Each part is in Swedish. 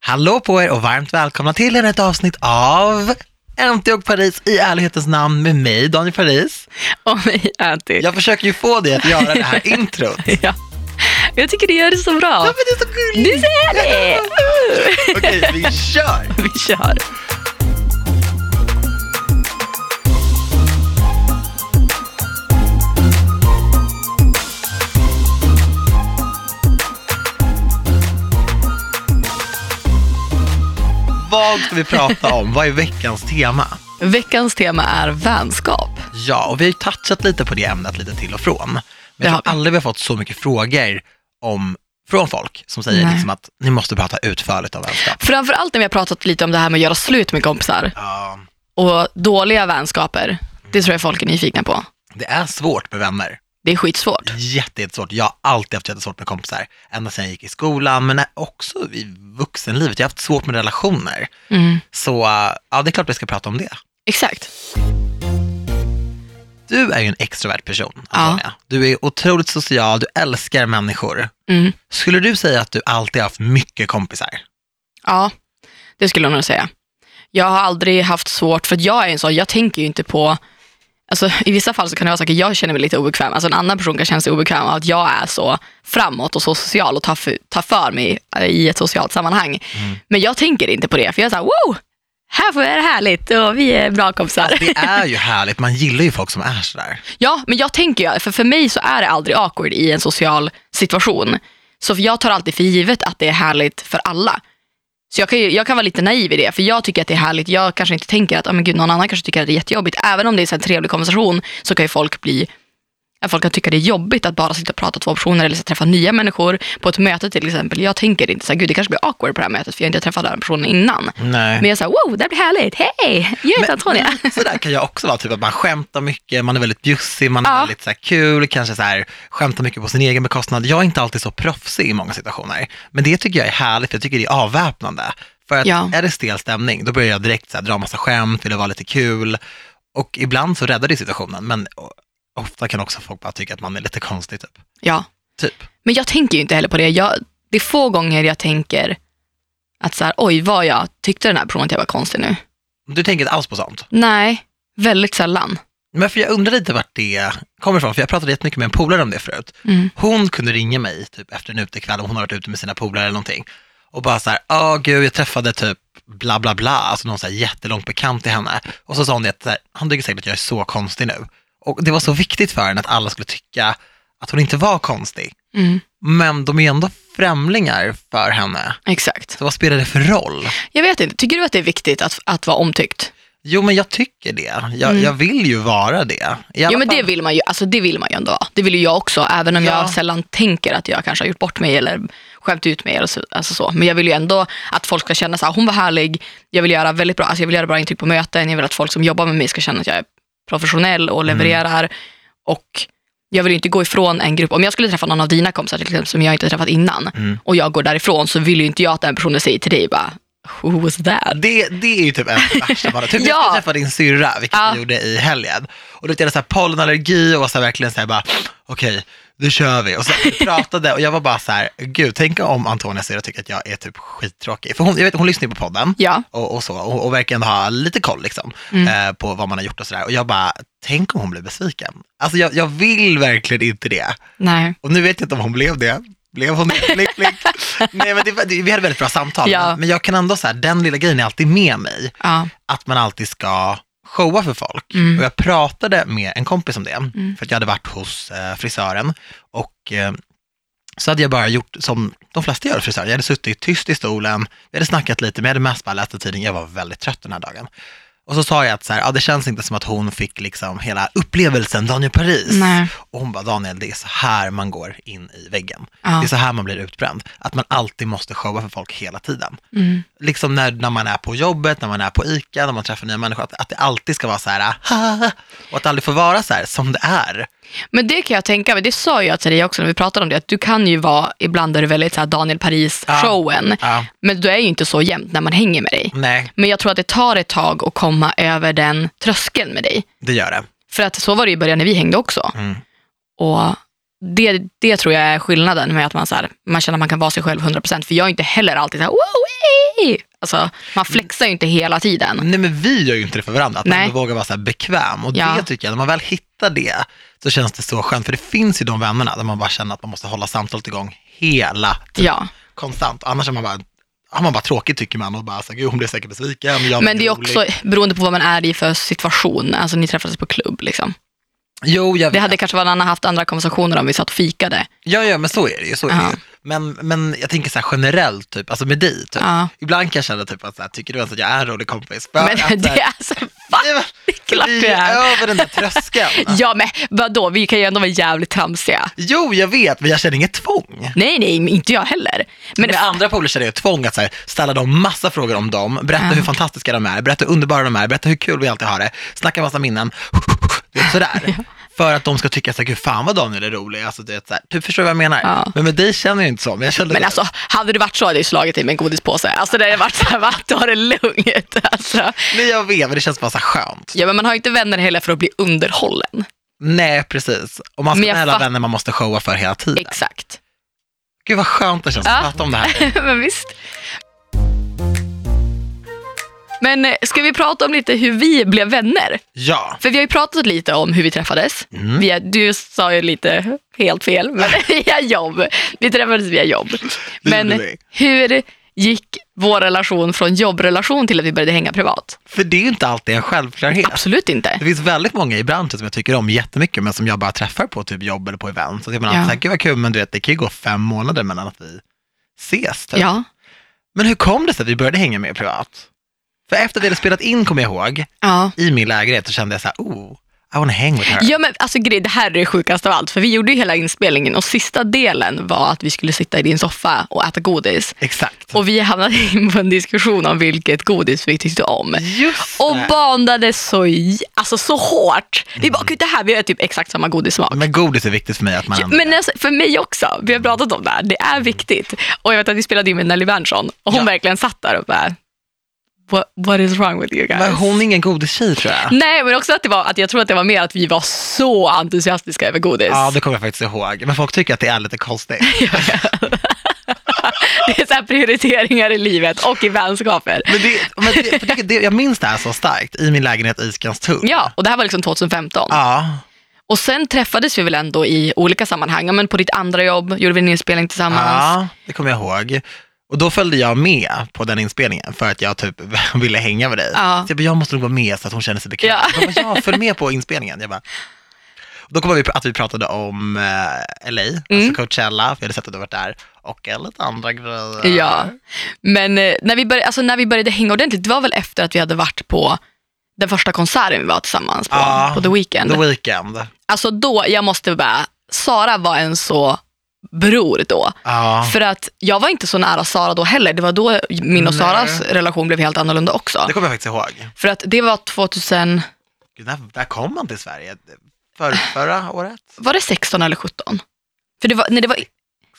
Hallå på er och varmt välkomna till ännu ett avsnitt av Antioch Paris i ärlighetens namn med mig, Daniel Paris. Och mig Anty. Jag försöker ju få dig att göra det här introt. Ja. Jag tycker du gör det så Ja, bra. men det är så Du gulligt! ser det! Okej, vi kör! Vi kör. Vad ska vi prata om? Vad är veckans tema? Veckans tema är vänskap. Ja, och vi har ju touchat lite på det ämnet lite till och från. Men Det jag har vi. tror aldrig vi har fått så mycket frågor om, från folk som säger Nej. liksom att ni måste prata utförligt om vänskap. Framförallt när vi har pratat lite om det här med att göra slut med kompisar Ja, och dåliga vänskaper. Det tror jag folk är nyfikna på. det är svårt med vänner. Det är skitsvårt. Jätte, jättesvårt. Jag har alltid haft jättesvårt med kompisar. Ända sedan jag gick i skolan, men också i vuxenlivet. Jag har haft svårt med relationer. Mm. Så eh, ja, det är klart vi ska prata om det. Exakt. Du är ju en extrovert person, Ja. Antonia. Du är otroligt social, du älskar människor. Mm. Skulle du säga att du alltid har haft mycket kompisar? Ja, det skulle jag nog säga. Jag har aldrig haft svårt, för att jag är en sån, jag tänker ju inte på Alltså, I vissa fall så kan det vara saker jag känner mig lite obekväm. Alltså, en annan person kan känna sig obekväm av att jag är så framåt och så social och tar för, tar för mig eh, i ett socialt sammanhang. Men jag tänker inte på det, för jag är såhär, wow, här får är det härligt och vi är bra kompisar. Det är ju härligt, man gillar ju folk som är sådär. Ja, men jag tänker ju, för för mig så är det aldrig awkward i en social situation. Så för jag tar alltid för givet att det är härligt för alla. Så jag kan, ju, jag kan vara lite naiv i det, för jag tycker att det är härligt. Jag kanske inte tänker att oh, men gud, någon annan kanske tycker att det är jättejobbigt. Även om det är så här en trevlig konversation så kan ju folk bli att folk kan tycka det är jobbigt att bara sitta och prata två personer eller så träffa nya människor på ett möte till exempel. Jag tänker inte så här, gud det kanske blir awkward på det här mötet för jag har inte träffat den här personen innan. Nej. Men jag säger wow, det här blir härligt, hej, jag heter Antonia. Sådär kan jag också vara, typ att man skämtar mycket, man är väldigt bjussig, man är Ja. väldigt så här kul, kanske så här, skämtar mycket på sin egen bekostnad. Jag är inte alltid så proffsig i många situationer, men det tycker jag är härligt, för jag tycker det är avväpnande. För att Ja. är det stel stämning, då börjar jag direkt så här, dra massa skämt, vill vara lite kul. Och ibland så räddar det situationen, men o- ofta kan också folk bara tycka att man är lite konstig. Typ. Ja. typ. Men jag tänker ju inte heller på det. Jag, det är få gånger jag tänker att så här, oj vad jag tyckte den här personen att jag var konstig nu. Du tänker inte alls på sånt? Nej, väldigt sällan. Men för jag undrar lite vart det kommer ifrån, för jag pratade jättemycket med en polare om det förut. Mm. Hon kunde ringa mig typ efter en utekväll om hon har varit ute med sina polare eller någonting. Och bara så här, ja gud jag träffade typ bla bla bla, alltså någon så här jättelång bekant till henne. Och så sa hon det att så här, han tycker säkert att jag är så konstig nu. Och det var så viktigt för henne att alla skulle tycka att hon inte var konstig. Mm. Men de är ju ändå främlingar för henne. Exakt. Så vad spelar det för roll? Jag vet inte, tycker du att det är viktigt att, att vara omtyckt? Jo men jag tycker det. Jag, jag vill ju vara det. I alla Mm. Jo men fall- det vill man ju, alltså det vill man ju ändå vara. Det vill ju jag också, även om Ja. jag sällan tänker att jag kanske har gjort bort mig eller skämt ut mig. Eller så, alltså så. Men jag vill ju ändå att folk ska känna så här, hon var härlig, jag vill göra väldigt bra, alltså jag vill göra bra intryck på möten, jag vill att folk som jobbar med mig ska känna att jag är professionell och Mm. levererar. Och jag vill ju inte gå ifrån en grupp. Om jag skulle träffa någon av dina kompisar till exempel, som jag inte träffat innan Mm. och jag går därifrån så vill ju inte jag att den personen säger till dig bara, who was that? Det, det är ju typ en av de värsta bara. Typ jag Ja. skulle träffa din syrra, vilket Ja. jag gjorde i helgen. Och då hade jag så här pollenallergi och var så här verkligen så här bara, okej, nu kör vi. Och så vi pratade och jag var bara så här, gud, tänk om Antonias syrra tycker att jag är typ skittråkig. För hon, jag vet, hon lyssnar ju på podden Ja, och, och så, och, och verkar ändå ha lite koll liksom, Mm. eh, på vad man har gjort och sådär. Och jag bara, tänk om hon blir besviken. Alltså jag, jag vill verkligen inte det. nej. Och nu vet jag inte om hon blev det. Blev hon det? Blick, blick. Nej, men det, det, vi hade väldigt bra samtal. Ja. Men- Men jag kan ändå så här, den lilla grejen är alltid med mig Ja. att man alltid ska showa för folk. Mm. Och jag pratade med en kompis om det, för att jag hade varit hos eh, frisören och eh, så hade jag bara gjort som de flesta gör frisörer. Jag hade suttit tyst i stolen, vi hade snackat lite, men jag hade mest bara läst i tidningen. Jag var väldigt trött den här dagen. Och så sa jag att så här, ja, det känns inte som att hon fick liksom hela upplevelsen Daniel Paris. Nej. Och hon bara, Daniel, det är så här man går in i väggen. Ja. Det är så här man blir utbränd. Att man alltid måste showa för folk hela tiden Mm. liksom när, när man är på jobbet, när man är på ICA, när man träffar nya människor, att, att det alltid ska vara så här, "Ah", och att det aldrig får vara så här som det är. Men det kan jag tänka mig, det sa jag till dig också när vi pratade om det, att du kan ju vara, ibland är du väldigt så här Daniel Paris-showen, Ja, men du är ju inte så jämt när man hänger med dig. nej, Men jag tror att det tar ett tag att komma över den tröskeln med dig. det gör det. För att så var det ju i början när vi hängde också. Mm. Och det, det tror jag är skillnaden med att man, så här, man känner att man kan vara sig själv 100%. För jag är inte heller alltid så här, wow, hej! Alltså, man flexar ju inte hela tiden. Nej men vi gör ju inte det för varandra, att man Nej. ändå vågar vara så här bekväm. Och Ja. det tycker jag, när man väl hittar det så känns det så skönt. För det finns ju de vännerna där man bara känner att man måste hålla samtalet igång hela tiden, Ja. konstant. Annars är man bara, har man bara tråkigt tycker man och bara, så här, gud hon blev säkert besviken. jag Men blev det är rolig." också beroende på vad man är i för situation. Alltså ni träffades på klubb liksom. Jo, jag Det vet. hade kanske varannan haft andra konversationer om vi satt och fikade. Ja, ja, men så är det ju. Så är det Ja. ju. Men, men jag tänker så här generellt, typ, alltså med dig, typ. Ja. ibland kan jag känna typ att så här, tycker du ens att jag är en rolig kompis? För att, så här, Men det är så nej, men, det är klart vi det är. över den där tröskeln. Ja men vadå, vi kan ju ändå vara jävligt tramsiga. Jo, jag vet, men jag känner inget tvång. Nej nej, men inte jag heller. Men Med andra polare känner jag tvång att så här, ställa dem massa frågor om dem, berätta hur fantastiska de är, berätta hur underbara de är, berätta hur kul vi alltid har det, snacka massa minnen, du vet, sådär. För att de ska tycka såhär, gud fan vad Daniel är rolig. Alltså, du, vet, så här, typ, förstår du vad jag menar? Ja. Men med dig känner jag inte så. Men jag känner Men alltså, hade det varit så hade jag ju slagit i mig en godispåse. Alltså det hade varit så här, va, ta det lugnt. Alltså. Nej, jag vet, men det känns bara så här skönt. Ja men man har ju inte vänner heller för att bli underhållen. Nej, precis. Och man Men ska jag ha alla fatt- vänner man måste showa för hela tiden. Exakt. Gud vad skönt det känns att Ja. prata om det här. men visst. Men eh, ska vi prata om lite hur vi blev vänner? Ja, För vi har ju pratat lite om hur vi träffades. Mm. Via, du sa ju lite helt fel, men via jobb. Vi träffades via jobb. Det Men gjorde vi. hur gick vår relation från jobbrelation till att vi började hänga privat? för det är ju inte alltid en självklarhet. Absolut inte. Det finns väldigt många i branschen som jag tycker om jättemycket, men som jag bara träffar på typ jobb eller på event. Så tycker man alltid Ja. så här, gud vad kul, men du vet, det kan ju gå fem månader mellan att vi ses. Typ. Ja. Men hur kom det sig att vi började hänga med privat? För efter vi hade spelat in, kommer jag ihåg, ja. i min lägenhet så kände jag så här, oh, I wanna hang with her. Ja men alltså grej, det här är det sjukaste av allt. För vi gjorde ju hela inspelningen och sista delen var att vi skulle sitta i din soffa och äta godis. Exakt. Och vi hamnade in på en diskussion om vilket godis vi tyckte om. Just Och det. bandade så, j- alltså, så hårt. Vi Mm. bara, gud det här, vi har typ exakt samma godissmak. Men godis är viktigt för mig att man Ja, Men alltså, för mig också, vi har pratat om det här, det är viktigt. Och jag vet att vi spelade in med Nelly Berntsson och hon Ja. verkligen satt där och bara, what, what is wrong with you guys? Men hon är ingen godistjej tror jag. Nej, men också att, det var, att jag tror att det var mer att vi var så entusiastiska över godis. Ja, det kommer jag faktiskt ihåg. Men folk tycker att det är lite konstigt. Det är så här prioriteringar i livet och i vänskaper. Men det, men det, för det, det, jag minns det här så starkt i min lägenhet i Skanstull. Ja, och det här var liksom 2015. Ja, Och sen träffades vi väl ändå i olika sammanhang. Ja, Men på ditt andra jobb gjorde vi en inspelning tillsammans. ja, det kommer jag ihåg. Och då följde jag med på den inspelningen för att jag typ ville hänga med dig. Ja. Så jag bara, jag måste nog vara med så att hon känner sig bekväm. Ja. Jag bara, ja, följ med på inspelningen. Jag bara, då kom vi att vi pratade om eh, LA, Mm. alltså Coachella, för jag hade sett att du varit där, och eh, lite andra grejer. Ja. Men eh, när vi, började, alltså när vi började hänga ordentligt, det var väl efter att vi hade varit på den första konserten vi var tillsammans på, Ja. på The Weeknd. The Weeknd. Alltså då, jag måste bara, Sara var en så bror då. Ja. För att jag var inte så nära Sara då heller. Det var då min och Nej. Saras relation blev helt annorlunda också. Det kommer jag faktiskt ihåg. För att det var 2000, Gud, när, när kom han till Sverige? För, förra året? var det 16 eller 17? För det var, nej det var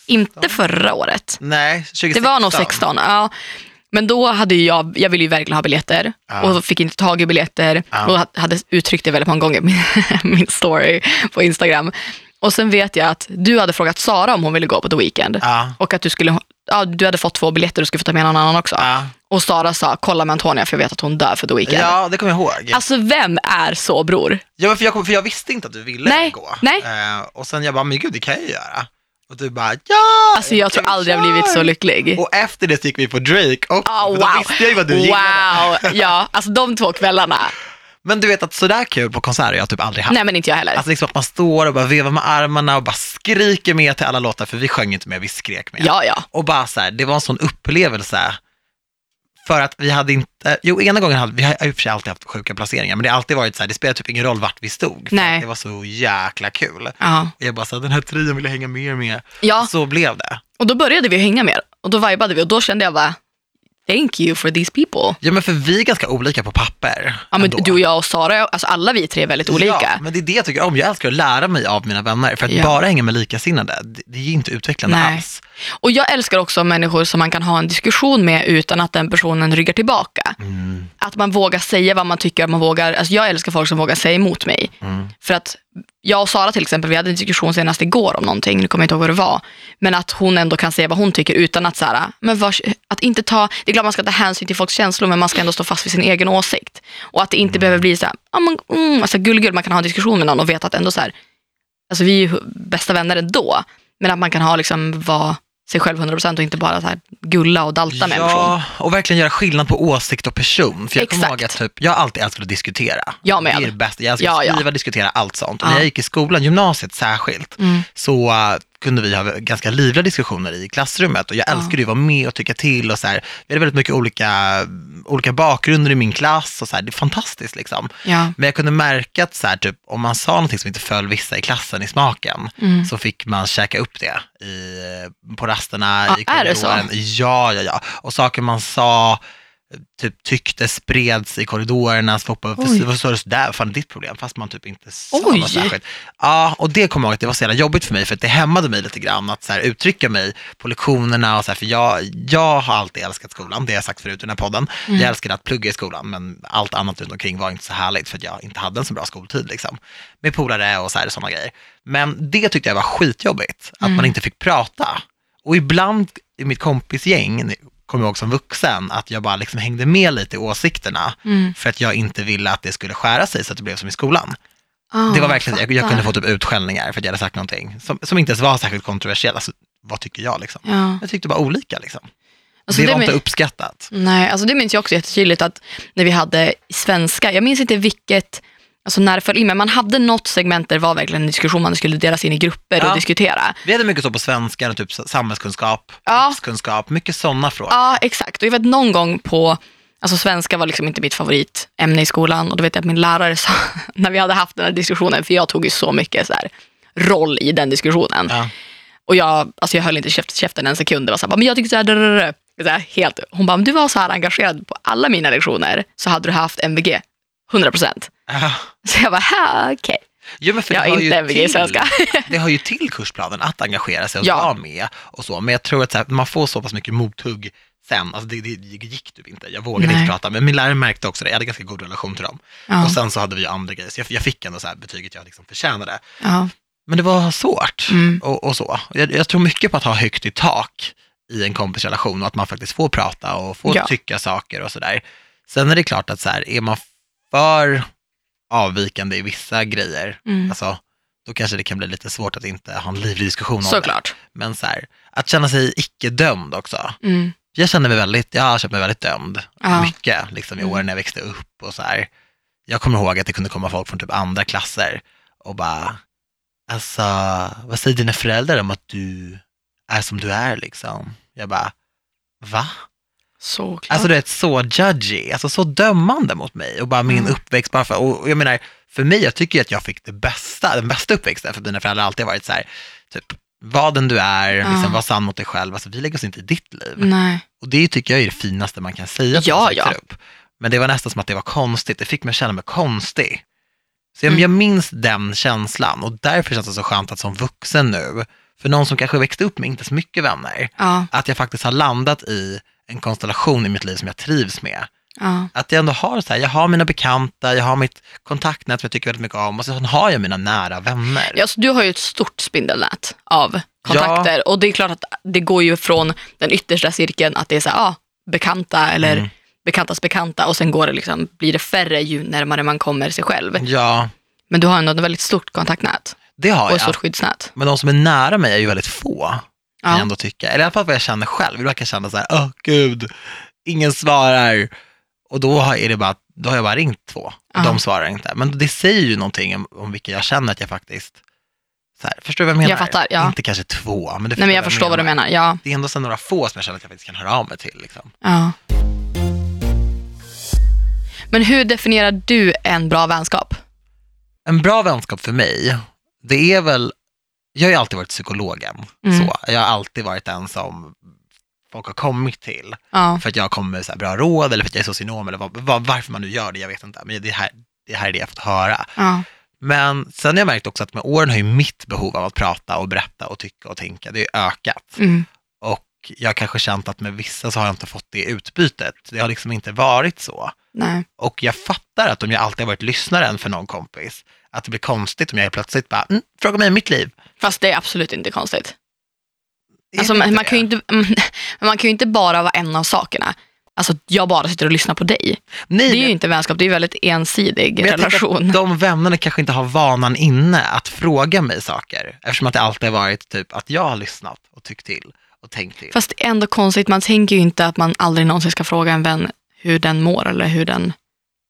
inte förra året. Nej, 2016. Det var nog 16, ja. Men då hade ju jag, jag ville ju verkligen ha biljetter Ja. och fick inte tag i biljetter Ja. och ha- hade uttryckt det väldigt många gånger i min, min story på Instagram. Och sen vet jag att du hade frågat Sara om hon ville gå på The Weeknd Ja. och att du skulle, ja, du hade fått två biljetter och skulle få ta med någon annan också. Ja. Och Sara sa, kolla med Antonia för jag vet att hon dör för The Weeknd. ja, det kommer jag ihåg. Alltså vem är så bror? ja, men för, jag kom, för jag visste inte att du ville Nej, gå. nej. Eh, och sen jag bara, men gud det kan jag ju göra. Och du bara, ja! Alltså jag tror aldrig jag blivit så lycklig. Och efter det så gick vi på Drake också, Ja, för wow. då visste jag ju vad du gillade. wow, ja, alltså de två kvällarna. Men du vet att sådär kul på konserter har jag typ aldrig haft. Nej men inte jag heller. Alltså liksom att man står och bara vevar med armarna och bara skriker med till alla låtar, för vi sjöng inte med, vi skrek med. Ja, ja. Och bara så här, det var en sån upplevelse. För att vi hade inte, jo ena gången hade vi, har i och för sig alltid haft sjuka placeringar, men det har alltid varit så här, det spelar typ ingen roll vart vi stod. För Nej. att Det var så jäkla kul. Och Ja. jag bara så här, den här trion vill jag hänga mer med. ja, Så blev det. och då började vi hänga mer och då vibade vi och då kände jag bara, thank you for these people. Ja men för vi är ganska olika på papper. Ja, men ändå. du och jag och Sara, alltså alla vi tre är väldigt Ja, olika. men det är det jag tycker om. Jag älskar att lära mig av mina vänner. För att Ja. bara hänga med likasinnade, det, det är ju inte utvecklande Nej. alls. Och jag älskar också människor som man kan ha en diskussion med utan att den personen ryggar tillbaka. Mm. Att man vågar säga vad man tycker, man vågar, alltså jag älskar folk som vågar säga emot mig. För att jag och Sara till exempel, vi hade en diskussion senast igår om någonting, nu kommer jag inte ihåg vad det var. Men att hon ändå kan säga vad hon tycker utan att så här, men vars, att inte ta, det är klart man ska ta hänsyn till folks känslor men man ska ändå stå fast vid sin egen åsikt. Och att det Mm. inte behöver bli så här, ja, men, mm, alltså, gullgull, man kan ha en diskussion med någon och veta att ändå så här, alltså vi är ju hu- bästa vänner ändå. Men att man kan ha liksom vara sig själv 100% och inte bara så här, gulla och dalta med en person. Ja, och verkligen göra skillnad på åsikt och person. För jag kommer Exakt. ihåg att typ, jag har alltid älskat att diskutera. Jag med. Det är det bästa. Jag älskar Ja, att ja. skriva, diskutera, allt sånt. Och Ja. När jag gick i skolan, gymnasiet särskilt, Mm. så eh, kunde vi ha ganska livliga diskussioner i klassrummet. Och jag Ja. älskade ju att vara med och tycka till. Och så här, vi hade väldigt mycket olika, olika bakgrunder i min klass. Och så här, det är fantastiskt liksom. Ja. Men jag kunde märka att så här, typ, om man sa någonting som inte föll vissa i klassen i smaken, Mm. så fick man käka upp det i, eh, på rasterna. Ja, i Ah, är det så? korridoren. Ja, ja, ja. Och saker man sa, typ tyckte spreds i korridorerna, så folk bara, Oj. "Vad- vad står det sådär? Fan, det är ditt problem, fast man typ inte sa Oj. något särskilt. Ja, och det kommer jag ihåg att det var så jävla jobbigt för mig, för att det hämmade mig lite grann att så här, uttrycka mig på lektionerna och så här, för jag, jag har alltid älskat skolan, det har jag sagt förut i den här podden. Mm. Jag älskade att plugga i skolan, men allt annat runt omkring var inte så härligt, för att jag inte hade en så bra skoltid liksom. Med polare och så här, sådana grejer. Men det tyckte jag var skitjobbigt, att Mm. man inte fick prata. Och ibland i mitt kompisgäng, nu kommer jag ihåg som vuxen, att jag bara liksom hängde med lite i åsikterna, Mm. för att jag inte ville att det skulle skära sig så att det blev som i skolan. Ah, Det var verkligen, jag, jag fattar. kunde få typ utskällningar för att jag hade sagt någonting som, som inte ens var särskilt kontroversiellt. Alltså, vad tycker jag liksom? Ja. Jag tyckte bara olika liksom. Alltså, det, det var men- inte uppskattat. Nej, alltså det minns jag också jättetydligt att när vi hade svenska, jag minns inte vilket, alltså när det föll in, men man hade något segment där det var verkligen en diskussion, man skulle delas in i grupper och Ja. diskutera. Vi hade mycket så på svenska, och typ samhällskunskap, Ja. livskunskap, mycket sådana frågor. Ja, exakt. Och jag vet någon gång på, alltså svenska var liksom inte mitt favoritämne i skolan och då vet jag att min lärare sa, när vi hade haft den här diskussionen, för jag tog ju så mycket så här, roll i den diskussionen. Ja. Och jag, alltså jag höll inte käft, käften en sekund. Det var så här, men jag tyckte så här, drrrr. så här helt. Hon bara, "Men du var så här engagerad på alla mina lektioner så hade du haft MVG. 100 procent. Ja. Så jag bara, "Ha, okej. Jo, men för Jag det har hör inte ju MVG i till- svenska. Det hör ju till kursplanen att engagera sig och Ja. vara med och så, men jag tror att så här, man får så pass mycket mothugg sen, alltså det, det gick du inte, jag vågade Nej. inte prata, men min lärare märkte också det, jag hade ganska god relation till dem. Ja, Och sen så hade vi ju andra grejer, så jag, jag fick ändå så här betyget jag liksom förtjänade. ja. Men det var svårt Mm. och, och så. Jag, jag tror mycket på att ha högt i tak i en kompisrelation och att man faktiskt får prata och får Ja. tycka saker och sådär. Sen är det klart att så här, är man för avvikande i vissa grejer, Mm. alltså, då kanske det kan bli lite svårt att inte ha en livlig diskussion om Såklart. det. Men så här, att känna sig icke-dömd också. Mm. Jag känner mig väldigt, jag har känt mig väldigt dömd Ja. mycket liksom, i Mm. åren när jag växte upp och så här. Jag kommer ihåg att det kunde komma folk från typ andra klasser och bara, alltså vad säger dina föräldrar om att du är som du är liksom? Jag bara, va? Såklart. Alltså du vet, så judgy, alltså så dömande mot mig och bara min Mm. uppväxt. Bara för, och och jag menar, för mig, jag tycker ju att jag fick det bästa, den bästa uppväxten, för mina föräldrar har alltid varit så här, typ, var den du är, Ja. liksom, var sann mot dig själv, alltså vi lägger oss inte i ditt liv. Nej. Och det tycker jag är det finaste man kan säga till Ja, någon som ja. växer upp. Men det var nästan som att det var konstigt, det fick mig att känna mig konstig. Så jag, Mm. jag minns den känslan och därför känns det så skönt att som vuxen nu, för någon som kanske växte upp med inte så mycket vänner, Ja, att jag faktiskt har landat i en konstellation i mitt liv som jag trivs med. ja. Att jag ändå har så här, jag har mina bekanta, jag har mitt kontaktnät som jag tycker väldigt mycket om och sen har jag mina nära vänner. Ja, så du har ju ett stort spindelnät av kontakter och det är klart att det går ju från den yttersta cirkeln att det är så här, ah, bekanta eller Mm. bekantas bekanta och sen går det liksom, blir det färre ju närmare man kommer sig själv. Ja, Men du har ändå ett väldigt stort kontaktnät det har och jag. ett stort skyddsnät. Men de som är nära mig är ju väldigt få. kan jag Ja. ändå tycka. Eller i alla fall vad jag känner själv. Ibland kan jag känna så här, åh gud, ingen svarar. Och då har, är det bara, då har jag bara ringt två och Ja. de svarar inte. Men det säger ju någonting om, om vilka jag känner att jag faktiskt, så här, förstår du vad jag menar? Jag fattar, ja. Inte kanske två, men du Nej, men jag förstår vad du menar. Ja. Det är ändå så några få som jag känner att jag faktiskt kan höra av mig till. Liksom. Ja. Men hur definierar du en bra vänskap? En bra vänskap för mig, det är väl, jag har ju alltid varit psykologen. Mm. Så. Jag har alltid varit den som folk har kommit till. Ja. för att jag kommer med så här bra råd eller för att jag är socionom eller vad, vad, varför man nu gör det, jag vet inte. Men det här, det här är det jag fått höra. Ja. Men sen har jag märkt också att med åren har ju mitt behov av att prata och berätta och tycka och tänka, det har ju ökat. Mm. Och jag har kanske känt att med vissa så har jag inte fått det utbytet. Det har liksom inte varit så. Nej. Och jag fattar att om jag alltid har varit lyssnaren för någon kompis, Att det blir konstigt om jag helt plötsligt bara, mm, fråga mig om mitt liv. Fast det är absolut inte konstigt. Är Alltså, det man, man, det? kan ju inte, mm, man kan ju inte bara vara en av sakerna. Alltså jag bara sitter och lyssnar på dig. Nej, Det men- är ju inte vänskap, det är ju väldigt ensidig men jag tänker relation. Att de vännerna kanske inte har vanan inne att fråga mig saker. Eftersom att det alltid har varit typ att jag har lyssnat och tyckt till och tänkt till. Fast det är ändå konstigt, man tänker ju inte att man aldrig någonsin ska fråga en vän hur den mår eller hur den...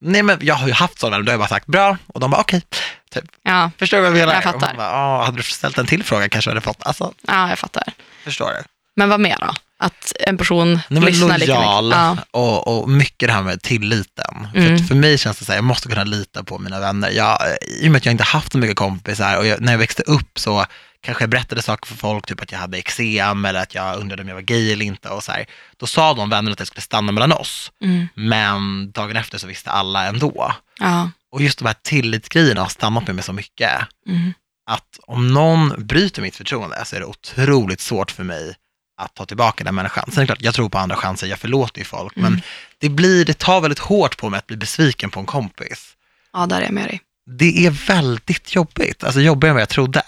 Nej men jag har ju haft sådana, då har jag bara sagt bra och de bara okej. Typ. Ja, Förstår du vad jag menar? Jag Och fattar. man bara, "Ja, hade du ställt en till fråga kanske jag hade fått, alltså ja, jag fattar. förstår du? Men vad mer då? Att en person Nej, men lyssnar lika lojal mycket? Ja. och, och mycket det här med tilliten. För, Mm. att för mig känns det så här, jag måste kunna lita på mina vänner. Jag, I och med att jag inte haft så mycket kompisar och jag, när jag växte upp så kanske jag berättade saker för folk, typ att jag hade eksem eller att jag undrade om jag var gay eller inte och så här. Då sa de vännerna att det skulle stanna mellan oss, Mm. men dagen efter så visste alla ändå. ja. Och just de här tillitsgrejerna har stannat med mig så mycket Mm. att om någon bryter mitt förtroende så är det otroligt svårt för mig att ta tillbaka den människan. Sen är det klart, jag tror på andra chanser, jag förlåter ju folk, men Mm. det, blir, det tar väldigt hårt på mig att bli besviken på en kompis. ja, där är jag med dig. Det är väldigt jobbigt, alltså jobbigare än vad jag trodde.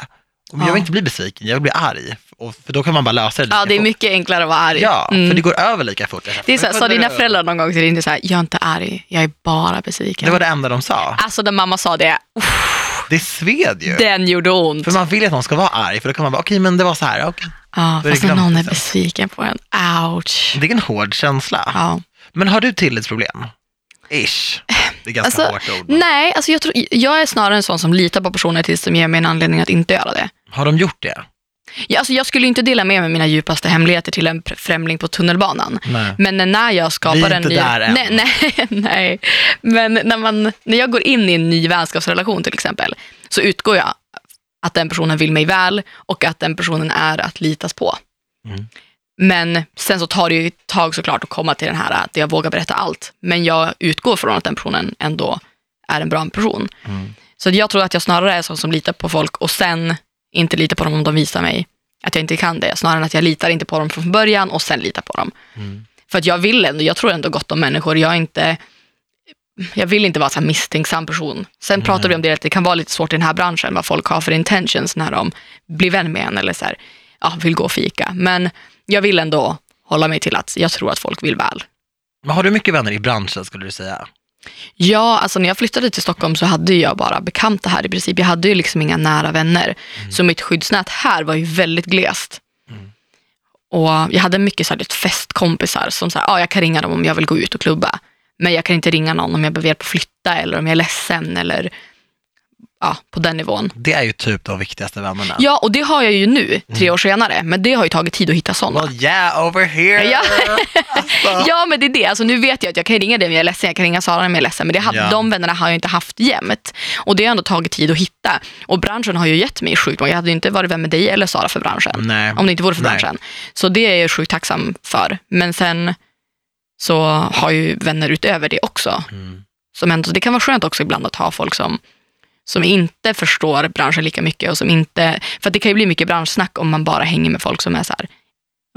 Och Jag Ja. vill inte bli besviken, jag vill bli arg, och, för då kan man bara lösa det Ja, det är fort. mycket enklare att vara arg. Ja, Mm. för det går över lika fort. Jag Det är så här, "Men sa vad dina du?" föräldrar någon gång till dig, inte så här, jag är inte arg, jag är bara besviken. Det var det enda de sa. Alltså när mamma sa det, Det sved ju. den gjorde ont. För man vill ju att någon ska vara arg, för då kan man bara, okej men det var så här, okej. Ja, det fast när glömt, någon är liksom. besviken på en, ouch. Det är en hård känsla. Ja. Men har du tillitsproblem? Ish. Det är ganska Alltså, hårt ord. men- Nej, alltså jag, tror, jag är snarare en sån som litar på personer tills de ger mig en anledning att inte göra det. Har de gjort det? Jag, alltså jag skulle inte dela med mig mina djupaste hemligheter till en pr- främling på tunnelbanan. Nej. Men när jag skapar Mm. Vi är en inte ny... där än. Nej, nej, nej. Men när, man, när jag går in i en ny vänskapsrelation till exempel, så utgår jag att den personen vill mig väl och att den personen är att litas på. Mm. Men sen så tar det ju ett tag såklart att komma till den här att jag vågar berätta allt. Men jag utgår från att den personen ändå är en bra person. Mm. Så jag tror att jag snarare är sån som litar på folk och sen inte litar på dem om de visar mig att jag inte kan det. Snarare än att jag litar inte på dem från början och sen litar på dem. Mm. För att jag vill ändå, jag tror ändå gott om människor. Jag är inte, jag vill inte vara en sån här misstänksam person. Sen pratar vi om det att det kan vara lite svårt i den här branschen, vad folk har för intentions när de blir vän med en eller så här, ja, vill gå och fika. Men jag vill ändå hålla mig till att jag tror att folk vill väl. Men har du mycket vänner i branschen skulle du säga? Ja, alltså när jag flyttade till Stockholm så hade ju jag bara bekanta här i princip. Jag hade ju liksom inga nära vänner. Så mitt skyddsnät här var ju väldigt glest. Mm. Och jag hade mycket så här, lite festkompisar som sa, ah, jag kan ringa dem om jag vill gå ut och klubba. Men jag kan inte ringa någon om jag behöver hjälp att flytta eller om jag är ledsen eller ja, på den nivån. Det är ju typ de viktigaste vännerna. Ja, och det har jag ju nu, tre år senare. Men det har ju tagit tid att hitta sådana. Well yeah, over here! Ja. alltså. Ja men det är det, alltså, nu vet jag att jag kan ringa dig om jag är ledsen, jag kan ringa Sara om jag är ledsen, men det hade, Ja. de vännerna har jag inte haft jämt. Och det har ändå tagit tid att hitta. Och branschen har ju gett mig sjukt många, jag hade ju inte varit vän med dig eller Sara för branschen. Nej. Om det inte vore för Mm. Nej. branschen. Så det är jag sjukt tacksam för. Men sen så har jag ju vänner utöver det också. Mm. Som ändå, det kan vara skönt också ibland att ha folk som, som inte förstår branschen lika mycket. Och som inte, för att det kan ju bli mycket branschsnack om man bara hänger med folk som är så här.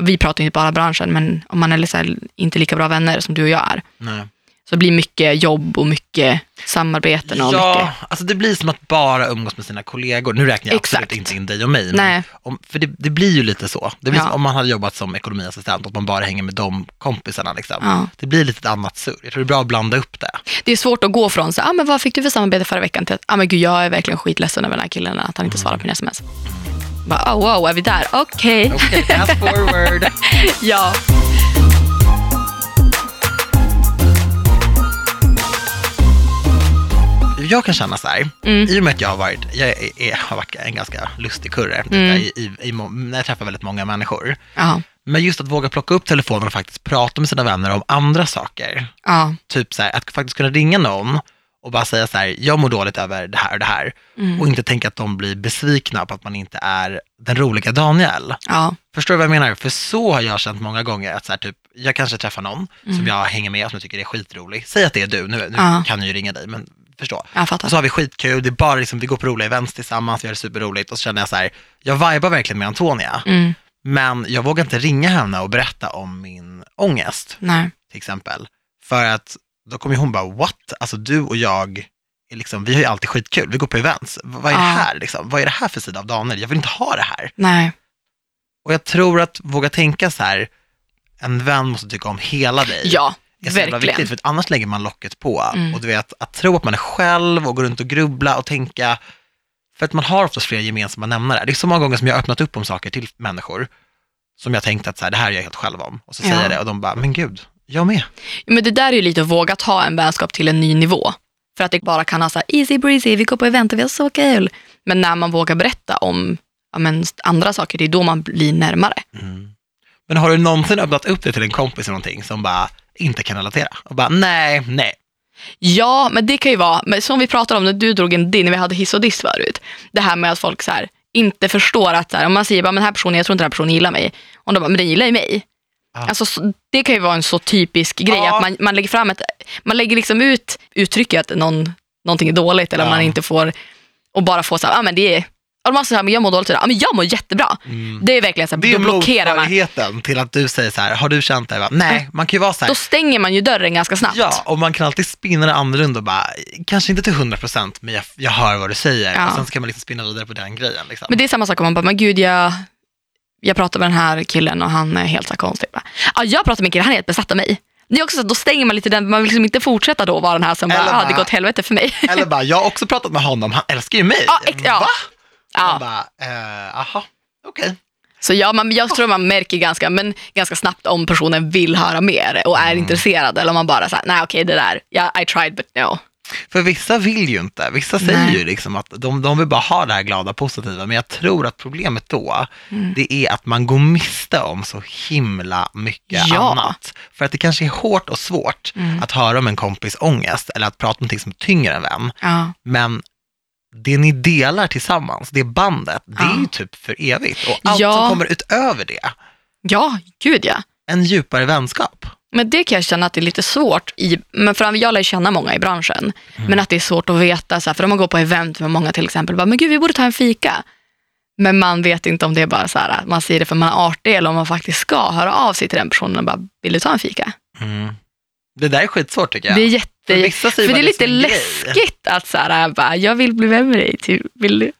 Vi pratar ju inte bara branschen, men om man är så här, inte lika bra vänner som du och jag är, Nej. så det blir mycket jobb och mycket samarbeten och Ja, mycket... alltså det blir som att bara umgås med sina kollegor. Nu räknar jag absolut Exakt. inte in dig och mig. men Nej. Om, för det, det blir ju lite så. Det blir Ja. som om man hade jobbat som ekonomiassistent, att man bara hänger med de kompisarna. Liksom. Ja. Det blir lite ett annat surr. Jag tror det är bra att blanda upp det. Det är svårt att gå från så här, ah, men vad fick du för samarbete förra veckan till att ah, men gud, jag är verkligen skitledsen över den här killen att han inte svarar på mina sms. Bara, oh, wow, är vi där? Okej. Okej, fast forward. Ja. jag kan känna så här, i och med att jag har varit, jag är, är, har varit en ganska lustig kurre, tycker jag, i, i, i, må- när jag träffar väldigt många människor. Ja. Men just att våga plocka upp telefonen och faktiskt prata med sina vänner om andra saker. Ja. Typ så här, att faktiskt kunna ringa någon och bara säga så här, jag mår dåligt över det här och det här. Och inte tänka att de blir besvikna på att man inte är den roliga Daniel. Ja. Förstår du vad jag menar? För så har jag känt många gånger att så här, typ, jag kanske träffar någon som jag hänger med, som jag tycker är skitrolig. Säg att det är du, nu, nu Ja. kan jag ju ringa dig, men förstå. Jag Och fattar. så har vi skitkul, det är bara liksom, vi går på roliga events tillsammans, vi har det superroligt och så känner jag så här, jag vibar verkligen med Antonia, Mm. men jag vågar inte ringa henne och berätta om min ångest Nej. till exempel. För att då kommer ju hon bara, what? Alltså du och jag är liksom, vi har ju alltid skitkul, vi går på events. V- Vad är det Ja. här liksom? Vad är det här för sida av Daniel? Jag vill inte ha det här. Nej. Och jag tror att våga tänka så här, en vän måste tycka om hela dig. Ja, är så jävla verkligen. viktigt, för att annars lägger man locket på. Mm. Och du vet, att tro att man är själv och gå runt och grubbla och tänka, för att man har oftast fler gemensamma nämnare. Det är så många gånger som jag har öppnat upp om saker till människor, som jag tänkt att så här, det här är jag helt själv om. Och så säger Ja. jag det och de bara, men gud, jag med. Men det där är ju lite att våga ta en vänskap till en ny nivå. För att det bara kan ha så här easy breezy, vi går på event och vi har så kul. Men när man vågar berätta om ja, men, andra saker, det är då man blir närmare. Mm. Men har du någonsin öppnat upp det till en kompis eller någonting som bara inte kan relatera? Och bara, nej, nej. Ja, men det kan ju vara, men som vi pratade om när du drog in din, när vi hade hiss och diss förut. Det här med att folk så här, inte förstår att så här, om man säger bara, men den här personen, jag tror inte den här personen gillar mig. Och de bara, men den gillar ju mig. Ja. Alltså, så- det kan ju vara en så typisk grej, Ah. Ja. att man, man lägger fram ett, man lägger liksom ut uttrycket att någon, någonting är dåligt eller Ja. man inte får, och bara får så här, ah, men det är, och man säger så här, men jag mår dåligt idag, ah, men jag mår jättebra. Det är verkligen så här, Mm. Det är då blockerar man. motsvarigheten till att du säger så här, har du känt det? Jag bara, nej, man kan ju vara så här, Då stänger man ju dörren ganska snabbt. Ja, och man kan alltid spinna det annorlunda och bara, kanske inte till 100% men jag, jag hör vad du säger. Ja. Och sen så kan man liksom spinna vidare på den grejen. Liksom. Men det är samma sak om man bara, men gud jag, jag pratar med den här killen och han är helt så här konstig. Bara, Ja, jag pratar med en kille, han är helt besatt av mig. Det är också så att då stänger man lite den, man vill liksom inte fortsätta då vara den här som bara, Eller ah, det bara- går åt helvete för mig. Eller bara, jag har också pratat med honom, han älskar ju mig. Ja, ex- ja. Va? Man ja. bara, eh, aha, okej. Så ja, man, jag tror man märker ganska, men ganska snabbt om personen vill höra mer och är Mm. intresserad eller om man bara säger nej okej det där, yeah, I tried but no. För vissa vill ju inte, vissa säger Nej. ju liksom att de, de vill bara ha det här glada, positiva, men jag tror att problemet då, Mm. det är att man går miste om så himla mycket Ja. Mm. annat. För att det kanske är hårt och svårt att höra om en kompis ångest, eller att prata om någonting som tynger en vän. Ja. Men det ni delar tillsammans, det bandet, det Ja. är ju typ för evigt. Och allt Ja. som kommer utöver det, ja, gud ja. en djupare vänskap. Men det kan jag känna att det är lite svårt i, men för jag lär känna många i branschen, Mm. men att det är svårt att veta, så här, för om man går på event med många till exempel, bara, men gud vi borde ta en fika. Men man vet inte om det är bara så här, att man säger det för man är artig eller om man faktiskt ska höra av sig till den personen och bara, vill du ta en fika? Mm. Det där är skitsvårt tycker jag. Det är jätte... För För, vissa säger bara, "Liksom, det är lite det är som en grej. läskigt att så här, bara, jag vill bli vän med dig, typ, vill du?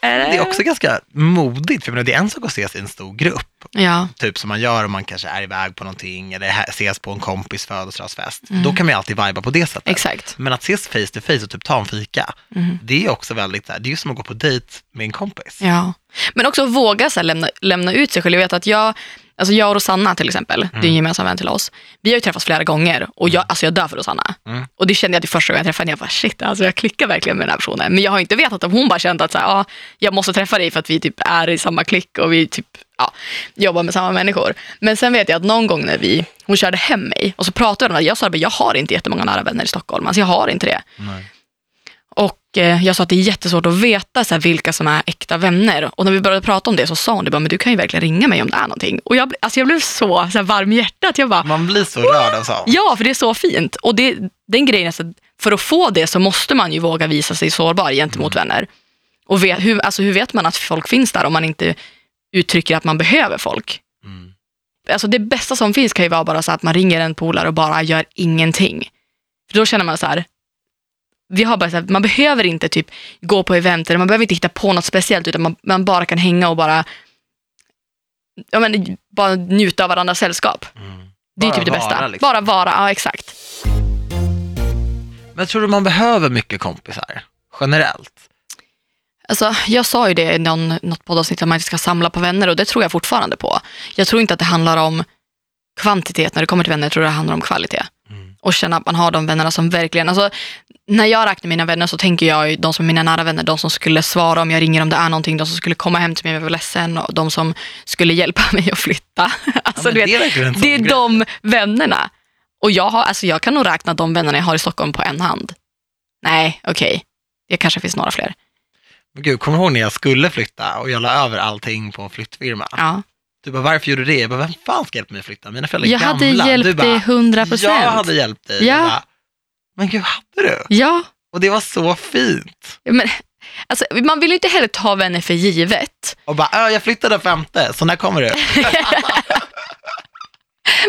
Det är också ganska modigt, för jag menar, det är en sak att ses i en stor grupp, Ja, typ som man gör om man kanske är iväg på någonting eller hä- ses på en kompis födelsedagsfest. Mm. Då kan man ju alltid viba på det sättet. exakt. Men att ses face to face och typ ta en fika, Mm. det är också väldigt, så här, det är ju som att gå på dejt med en kompis. Ja. Men också våga så här, lämna, lämna ut sig själv. Jag vet att jag, alltså jag och Rosanna till exempel, det är en gemensam vän till oss. Vi har ju träffats flera gånger och jag, alltså jag dör för Rosanna. Mm. Och det kände jag till första gången jag träffade henne. Jag bara shit, alltså jag klickar verkligen med den här personen. Men jag har inte vetat om hon bara kände att så här, ah, jag måste träffa dig för att vi typ är i samma klick och vi typ ja, jobbar med samma människor. Men sen vet jag att någon gång när vi, hon körde hem mig och så pratade vi om det. Jag sa att jag har inte jättemånga nära vänner i Stockholm. Alltså jag har inte det. Nej. Och eh, jag sa att det är jättesvårt att veta så här, vilka som är äkta vänner. Och när vi började prata om det så sa hon det bara, men du kan ju verkligen ringa mig om det är någonting. Och jag, bl- alltså, jag blev så, så här, varm i hjärtat. Jag bara, Man blir så rörd av sånt. ja för det är så fint. Och det, den grejen är så att för att få det så måste man ju våga visa sig sårbar gentemot vänner. Och vet, hur, alltså, hur vet man att folk finns där om man inte uttrycker att man behöver folk? Mm. Alltså det bästa som finns kan ju vara bara så att man ringer en polare och bara gör ingenting. För då känner man så här, vi har bara så här, man behöver inte typ gå på event eller man behöver inte hitta på något speciellt utan man, man bara kan hänga och bara, ja, men, bara njuta av varandras sällskap. Mm. Det är Bara typ det vara, bästa. liksom. Bara vara, ja exakt. Men tror du man behöver mycket kompisar? Generellt? Alltså, jag sa ju det i någon, något poddavsnitt att man inte ska samla på vänner och det tror jag fortfarande på. Jag tror inte att det handlar om kvantitet när det kommer till vänner, jag tror det handlar om kvalitet. Mm. och känna att man har de vännerna som verkligen, alltså när jag räknar mina vänner så tänker jag ju de som är mina nära vänner, de som skulle svara om jag ringer om det är någonting, de som skulle komma hem till mig om jag var ledsen och de som skulle hjälpa mig att flytta. Alltså, men du vet, det är verkligen en sån det är grej. de vännerna. Och jag, har, alltså, jag kan nog räkna de vännerna jag har i Stockholm på en hand. Nej, okej. Det kanske finns några fler. Men gud, kommer du ihåg när jag skulle flytta och jag la över allting på en flyttfirma? Ja. Du bara, varför gjorde du det? Jag bara, vem fan ska hjälpa mig att flytta? Mina föräldrar är Jag hade gamla. du hjälpt dig bara, 100 procent. Jag hade hjälpt dig. Ja. Jag bara, men gud, hade du? Ja, Och det var så fint. men alltså, man vill ju inte heller ta vänner för givet. Och bara, "Ja, jag flyttar den femte, så när kommer du?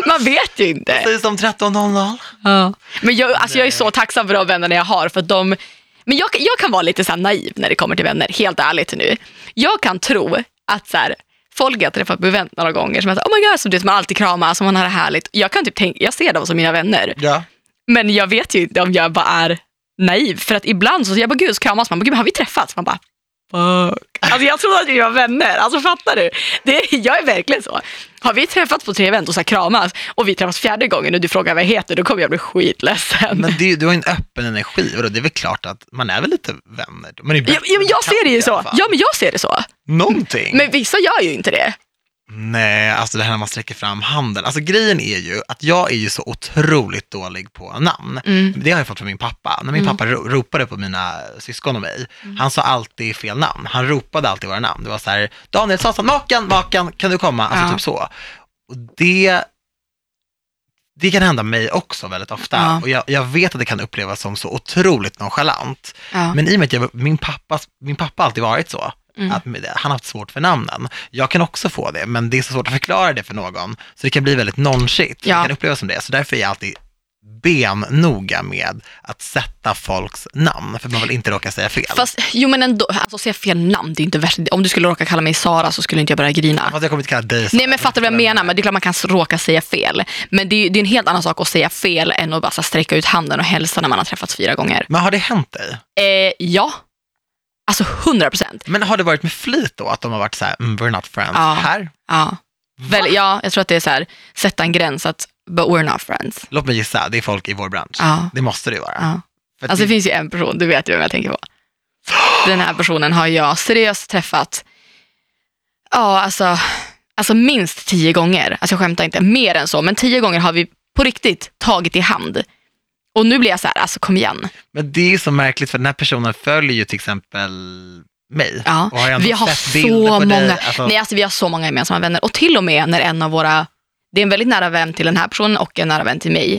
Man vet ju inte. Precis som 13.00. Men jag, alltså jag är så tacksam för de vännerna jag har, för att de, Men jag, jag kan vara lite så här naiv när det kommer till vänner, helt ärligt nu. Jag kan tro att så här, folk jag träffat på event några gånger, som att oh my god, som du vet, man alltid kramas och man har det härligt. Jag, kan typ tänka, jag ser dem som mina vänner, Ja. men jag vet ju inte om jag bara är naiv. För att ibland så, jag bara gud, så kramas man, bara, gud, har vi träffats? Man bara, Fuck. Alltså jag trodde att vi var vänner, alltså fattar du? Det, jag är verkligen så. Har vi träffats på tre event och så här kramas och vi träffas fjärde gången och du frågar vad jag heter, då kommer jag bli skitledsen. Men det, du har ju en öppen energi, och det är väl klart att man är väl lite vänner? Man är Ja, ja, men jag ser det ju så. Ja. Ja, men jag ser det så. Någonting. Men vissa gör ju inte det. Nej, alltså det här när man sträcker fram handen. Alltså grejen är ju att jag är ju så otroligt dålig på namn. Mm. Det har jag fått från min pappa. När min pappa ro- ropade på mina syskon och mig, Mm. han sa alltid fel namn. Han ropade alltid våra namn. Det var så här, Daniel Sasan, Makan, Makan, kan du komma? Alltså Ja. typ så. Och det, det kan hända mig också väldigt ofta. Ja. Och jag, jag vet att det kan upplevas som så otroligt nonchalant. Ja. Men i och med att jag, min, pappa, min pappa har alltid varit så, Mm. att med- han har haft svårt för namnen. Jag kan också få det, men det är så svårt att förklara det för någon, så det kan bli väldigt nonchigt. Ja. Det kan upplevas som det, så därför är jag alltid bennoga med att sätta folks namn, för man vill inte råka säga fel. Fast, Fast, jo men ändå, alltså säga fel namn, det är inte värst. Om du skulle råka kalla mig Sara så skulle inte jag börja grina. jag kommer inte kalla dig så. Nej men fattar du vad jag menar? Men det är klart man kan råka säga fel. Men det är, ju- det är en helt annan sak att säga fel än att bara så här, sträcka ut handen och hälsa när man har träffats fyra gånger. Men har det hänt dig? Eh, ja, alltså 100 procent. Men har det varit med flit då, att de har varit så här, mm, we're not friends Ja. här? Ja. Väl, ja, jag tror att det är så här, sätta en gräns att but we're not friends. Låt mig gissa, det är folk i vår bransch. Ja. Det måste det ju vara. Ja. För att Alltså det det, finns ju en person, du vet ju vem jag tänker på. Den här personen har jag seriöst träffat, ja alltså, alltså minst tio gånger. Alltså jag skämtar inte, mer än så. Men tio gånger har vi på riktigt tagit i hand. Och nu blir jag så här, alltså kom igen. men det är ju så märkligt, för den här personen följer ju till exempel mig. Ja. Och har jag ändå Vi har sett bilder så på dig, många, alltså- nej alltså vi har så många gemensamma vänner. Och till och med när en av våra, det är en väldigt nära vän till den här personen och en nära vän till mig,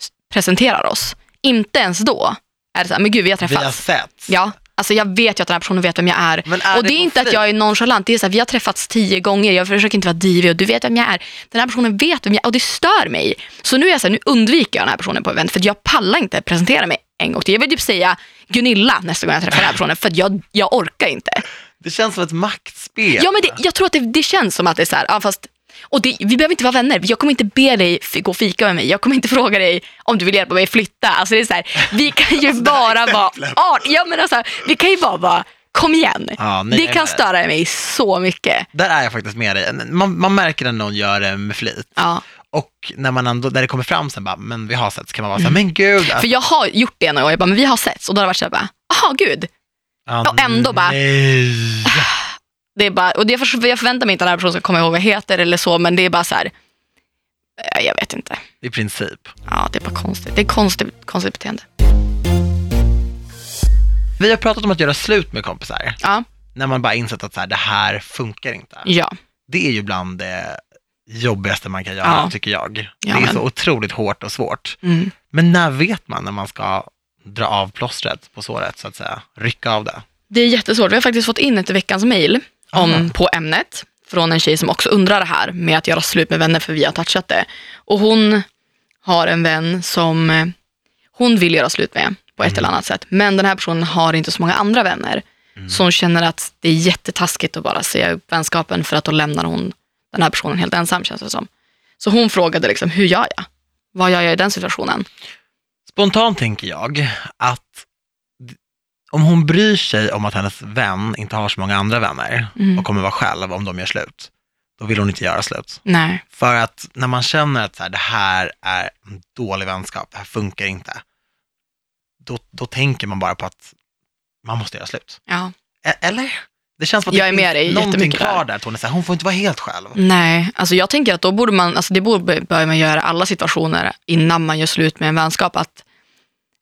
s- presenterar oss. Inte ens då är det så här, men gud vi har Vi har träffats. sett. Ja, alltså jag vet ju att den här personen vet vem jag är. Men är och det det är på inte att flit? jag är nonchalant, det är så här, vi har träffats tio gånger, jag försöker inte vara divig och du vet vem jag är. Den här personen vet vem jag är och det stör mig. Så nu är jag så här, nu undviker jag den här personen på event för att jag pallar inte presentera mig en gång till. Jag vill typ säga Gunilla nästa gång jag träffar den här personen för att jag, jag orkar inte. Det känns som ett maktspel. Ja, men det, jag tror att det, det känns som att det är så här, ja, fast, och det, vi behöver inte vara vänner. Jag kommer inte be dig f- gå och fika med mig. Jag kommer inte fråga dig om du vill hjälpa mig flytta. Alltså, det är så här, vi kan Alltså, ju bara vara art. Ja, men alltså, vi kan ju bara vara, kom igen. Ja, nej, det nej, kan nej. störa mig så mycket. Där är jag faktiskt med dig. Man, man märker när någon gör det med flit. Ja. Och när, man ändå, när det kommer fram sen, bara, men vi har sett, så kan man vara så här, men gud. alltså, Att, För jag har gjort det några gång. Jag bara, men vi har setts. Och då har det varit så här, bara, aha, gud. ja, och ändå bara- Nej. Det är bara, och det för, jag förväntar mig inte att den här personen ska komma ihåg vad jag heter eller så, men det är bara så här, eh, jag vet inte. I princip. Ja, det är bara konstigt. Det är konstigt, konstigt beteende. Vi har pratat om att göra slut med kompisar. Ja, När man bara insett att så här, det här funkar inte. ja. Det är ju bland det jobbigaste man kan göra, Ja. tycker jag. Ja, det är men- så otroligt hårt och svårt. Mm. Men när vet man när man ska dra av plåstret på såret, så att säga? Rycka av det. Det är jättesvårt. Vi har faktiskt fått in ett veckans mejl om- Aha. på ämnet från en tjej som också undrar det här med att göra slut med vänner för vi har touchat det. Och hon har en vän som eh, hon vill göra slut med på ett eller annat sätt. Men den här personen har inte så många andra vänner. Mm. Så hon känner att det är jättetaskigt att bara säga upp vänskapen för att då lämnar hon den här personen helt ensam känns det som. Så hon frågade liksom, hur gör jag? Vad gör jag i den situationen? Spontant tänker jag att d- om hon bryr sig om att hennes vän inte har så många andra vänner Mm. och kommer vara själv om de gör slut, då vill hon inte göra slut. Nej. För att när man känner att så här, det här är en dålig vänskap, det här funkar inte, då, då tänker man bara på att man måste göra slut. Ja. E- Eller? Det känns som att Jag är det med dig finns någonting jättemycket kvar där. där. att Hon, är så här, hon får inte vara helt själv. Nej, alltså jag tänker att då borde man, alltså det borde, bör man göra i alla situationer innan man gör slut med en vänskap. Att,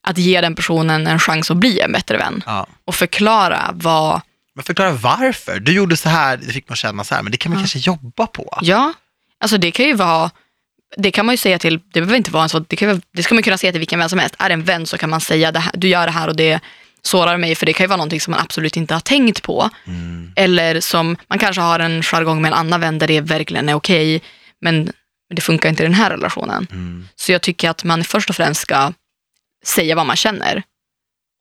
att ge den personen en chans att bli en bättre vän Ja. och förklara vad, Men förklara varför. Du gjorde så här, det fick man känna så här, men det kan man kanske jobba på. ja, alltså det kan ju vara, det kan man ju säga till, det behöver inte vara en så, det, kan, ju- det ska man kunna säga till vilken vän som helst. Är det en vän så kan man säga, det här, du gör det här och det sårar mig, för det kan ju vara någonting som man absolut inte har tänkt på. Mm. Eller som, man kanske har en jargong med en annan vän där det verkligen är okej, men det funkar inte i den här relationen. Mm. Så jag tycker att man först och främst ska säga vad man känner